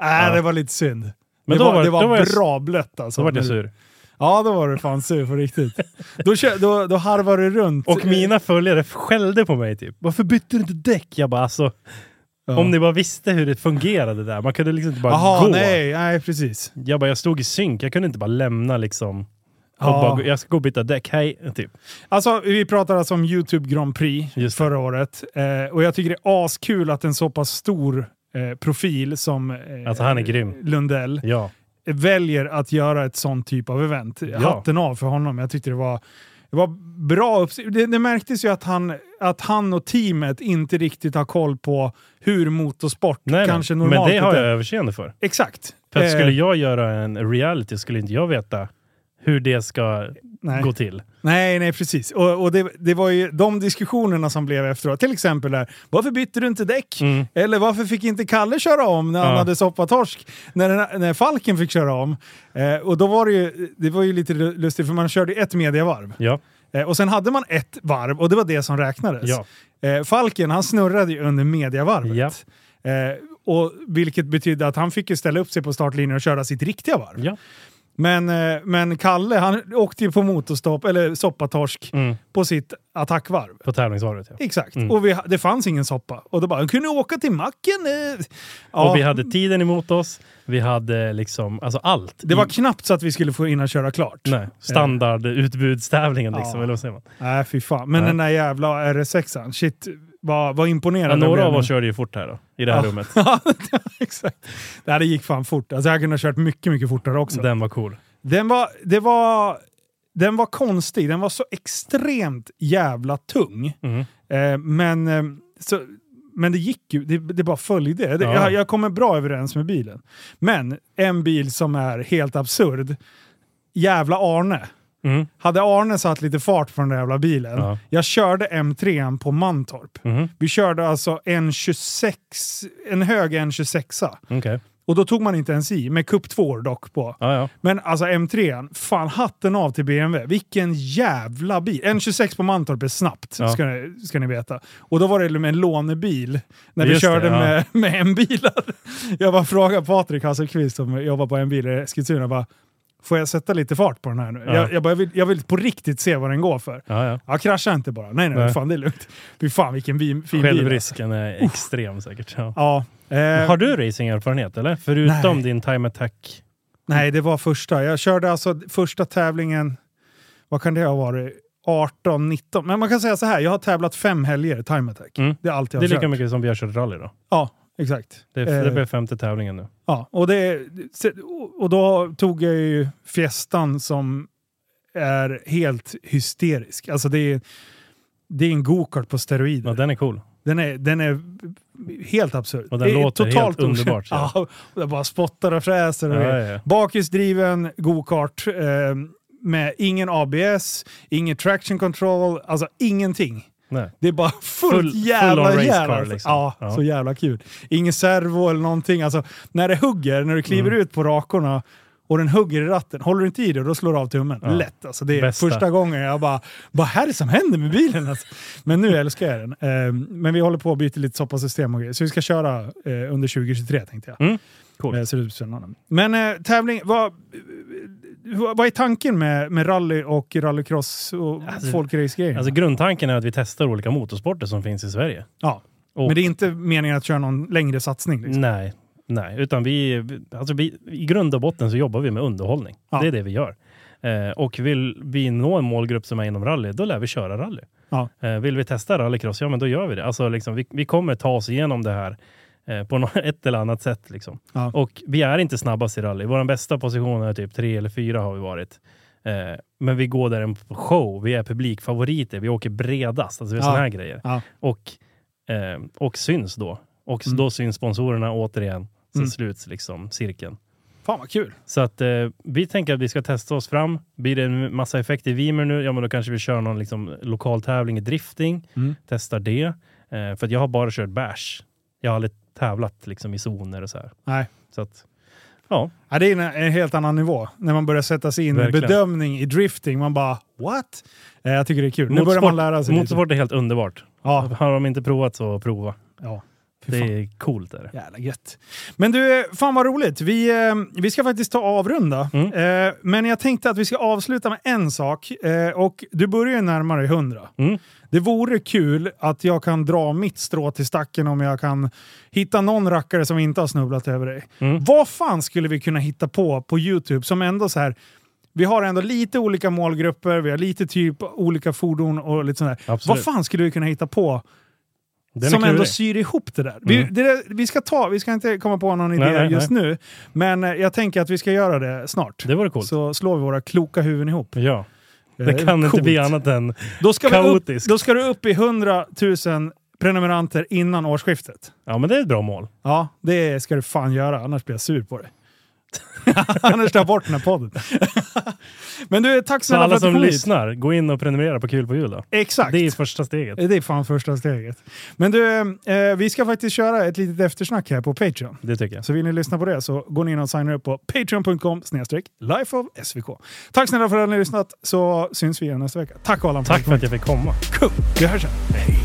Ja.
det var lite synd.
Men
det
då
var,
var-
det var,
då var jag-
bra blött alltså.
Så vart jag
Men-
sur.
Ja, då var du fan sur på riktigt. Då, kö- då, då harvar du runt.
Och mina följare skällde på mig typ. Varför bytte du inte däck? Jag bara alltså,
Ja.
om ni bara visste hur det fungerade där. Man kunde liksom inte bara
Jaha,
gå.
nej, nej precis.
Jag bara, jag stod i synk. Jag kunde inte bara lämna liksom. Och
Ja.
bara, gå- jag ska gå och byta däck, hej. Typ.
Alltså, vi pratade alltså om YouTube Grand Prix
Just det.
förra året. Eh, och jag tycker det är askul att en så pass stor eh, profil som eh,
Alltså, han är grym.
Lundell
Ja.
väljer att göra ett sånt typ av event.
Ja.
Hatten av för honom. Jag tyckte det var, det var bra. upps- Det, det märktes ju att han, att han och teamet inte riktigt har koll på hur motorsport
Nej,
kanske
Kanske nej.
normalt
Men det har jag
är.
överseende för.
Exakt.
För att
Eh,
skulle jag göra en reality skulle inte jag veta hur det ska
nej.
gå till.
Nej, nej precis. Och, och det, det var ju de diskussionerna som blev efteråt. Till exempel där, varför bytte du inte däck?
Mm.
Eller varför fick inte Kalle köra om när han
Ja.
hade soppatorsk? När, den- när Falken fick köra om. Eh, och då var det ju, det var ju lite lustigt för man körde ju ett mediavarv.
Ja.
Eh, och sen hade man ett varv och det var det som räknades.
Ja.
Eh, Falken han snurrade ju under mediavarvet.
Ja.
Eh, och, vilket betydde att han fick ju ställa upp sig på startlinjen och köra sitt riktiga varv.
ja.
Men, eh, men Kalle han åkte ju på motorstopp, eller soppatorsk,
Mm.
på sitt attackvarv.
På tävlingsvarvet ja.
Exakt.
Mm.
Och vi, ha- det fanns ingen soppa. Och då bara, kunde ni åka till macken? eh?" Ja,
Och vi hade tiden emot oss. Vi hade liksom, alltså allt.
Det var
I-
knappt så att vi skulle få in och köra klart.
Nej, standardutbudstävlingen liksom,
Eh. Ja.
eller vad säger man?
Nej, fy fan. Men
Nej.
den där jävla RS6an, shit, vad, vad
Ja,
imponerande.
några
blev
av
den.
oss körde ju fort här då, i det här
Ja.
rummet.
Ja, exakt. Nej, det gick fan fort. Alltså, jag kunde ha kört mycket, mycket fortare också.
Den var cool.
Den var, det var, den var konstig. Den var så extremt jävla tung.
Mm.
Eh, men, eh, så, men det gick ju, det, det bara följde. Det,
Ja.
jag, jag kommer bra överens med bilen. Men en bil som är helt absurd, jävla Arne.
Mm.
Hade Arne satt lite fart på den där jävla bilen,
Ja.
jag körde M3 på Mantorp.
Mhm.
Vi körde alltså en 26, en hög N26.
Okej.
Och då tog man inte ens i, med cup 2 dock på.
Ja, ja.
Men alltså M3, fan hatten av till BMW. Vilken jävla bil! N26 på Mantorp är snabbt,
Ja.
ska, ni, ska ni veta. Och då var det med en lånebil, när vi
Just det,
körde
ja.
med, med M-bilar. Jag bara frågade Patrik Hasselqvist som jobbar på M-bil i Eskilstuna, bara, får jag sätta lite fart på den här nu?
Ja.
Jag, jag, bara, jag, vill, jag vill på riktigt se vad den går för.
ja, ja.
Ja, krascha inte bara. Nej, nej,
Nej.
fan det är lugnt. Fy fan vilken bi- fin bil. alltså.
Självrisken är extrem säkert. Ja.
Ja. Eh,
Har du racingerfarenhet eller? Förutom
Nej.
din time attack?
Nej, det var första. Jag körde alltså första tävlingen, vad kan det ha varit? 18, 19. Men man kan säga så här, jag har tävlat fem helger i Time Attack.
Mm.
Det är allt jag
Det
har
är lika
kört.
mycket som vi har kört rally då.
Ja, exakt.
Det,
Eh,
det blev femte tävlingen nu.
ja, och, det, och då tog jag ju Fiestan som är helt hysterisk. Alltså det är, det är en gokart på steroider.
Ja, den är cool.
Den är, den är helt absurd.
Och den
Det är
låter helt
totalt okänt.
underbart, ja.
Ja, och jag bara spottar och fräser. Och
Ja,
grejer.
ja, ja.
Bakhjulsdriven go-kart eh, med ingen ABS, ingen traction control, alltså ingenting.
Nej.
Det är bara fullt
Full-
jävla
full on
järn.
racecar,
alltså.
liksom.
ja,
Ja.
så
Mm.
jävla kul. Ingen servo eller någonting. Alltså, när det hugger, när du kliver ut på rakorna och den hugger i ratten. Håller du inte i det, då slår du av tummen.
Ja.
Lätt alltså. Det är
Bästa.
första gången jag bara, vad är det som händer med bilen? Alltså. Men nu älskar jag den. Eh, men vi håller på att byta lite soppasystem och grejer. Så vi ska köra eh, under 2023 tänkte jag.
Mm. Coolt.
Eh, så det blir spännande. Men eh, tävling, vad, vad vad är tanken med, med rally och rallycross och
Alltså-
folkrace-grejer?
Alltså grundtanken är att vi testar olika motorsporter som finns i Sverige.
ja.
och-
Men det är inte meningen att köra någon längre satsning? Liksom.
Nej, nej, utan vi, alltså vi, i grund och botten så jobbar vi med underhållning.
Ja.
Det är det vi gör. Eh, och vill vi nå en målgrupp som är inom rally, då lär vi köra rally.
Ja.
Eh, vill vi testa rallycross, ja men då gör vi det. Alltså, liksom, vi, vi kommer ta oss igenom det här eh, på nå- ett eller annat sätt. Liksom.
Ja.
Och vi är inte snabbast i rally. Vår bästa position är typ tre eller fyra har vi varit. Eh, men vi går där en show, vi är publikfavoriter, vi åker bredast, alltså
Ja.
sådana här grejer.
Ja.
Och, eh, och syns då. Och
Mm.
då syns sponsorerna återigen. Så
Mm.
sluts liksom cirkeln.
Fan vad kul!
Så att eh, vi tänker att vi ska testa oss fram. Blir det en massa effekt i Vimer nu, ja men då kanske vi kör någon liksom, lokal tävling i drifting.
Mm.
Testar det. Eh, för att jag har bara kört bash. Jag har aldrig tävlat liksom, i zoner och så här.
Nej.
Så att,
Ja, det är en, en helt annan nivå när man börjar sätta sig in i
Verkligen.
bedömning i drifting. Man bara what? Eh, jag tycker Alltså, det är kul. Nu börjar
Motorsport-
man lära sig lite.
motorsport är helt underbart.
Ja,
Har de inte provat så prova.
ja. Fy
Det
fan.
är coolt. Är det.
Jävla gött. Men du, eh, fan vad roligt. Vi, eh, vi ska faktiskt ta avrunda.
Mm.
Eh, men jag tänkte att vi ska avsluta med en sak. Eh, och du börjar ju närmare 100.
Mm.
Det vore kul att jag kan dra mitt strå till stacken om jag kan hitta någon rackare som inte har snubblat över dig.
Mm.
Vad fan skulle vi kunna hitta på på YouTube som ändå så här... Vi har ändå lite olika målgrupper, vi har lite typ olika fordon och lite sånt där. Vad
Absolut.
fan skulle vi kunna hitta på
Den är
som ändå
klurig.
syr ihop det där. Vi,
Mm.
det där vi, ska ta, vi ska inte komma på någon idé
Nej, nej,
just nu, men eh, jag tänker att vi ska göra det snart.
Det vore coolt.
Så slår vi våra kloka huvuden ihop.
Ja,
Eh,
det kan inte
coolt.
bli annat än
Då ska, vi upp,
kaotiskt.
då ska du upp i 100 000 prenumeranter innan årsskiftet.
Ja, men det är ett bra mål.
Ja, det ska du fan göra, annars blir jag sur på dig. annars tar jag bort den här podden. men du, tack
Så
snälla för
alla
att du
som
kom hit.
lyssnar, gå in och prenumerera på Kul på jul då.
Exakt.
Det är första steget.
Det är fan första steget. Men du, eh, vi ska faktiskt köra ett litet eftersnack här på Patreon.
Det tycker jag.
Så vill ni lyssna på det så går ni in och signar upp på patreon.com snedstreck life of SVK. Tack snälla för att ni har lyssnat så syns vi igen nästa vecka. Tack Allan
Tack
för
för att jag fick komma.
att du Vi hörs sen. Hej.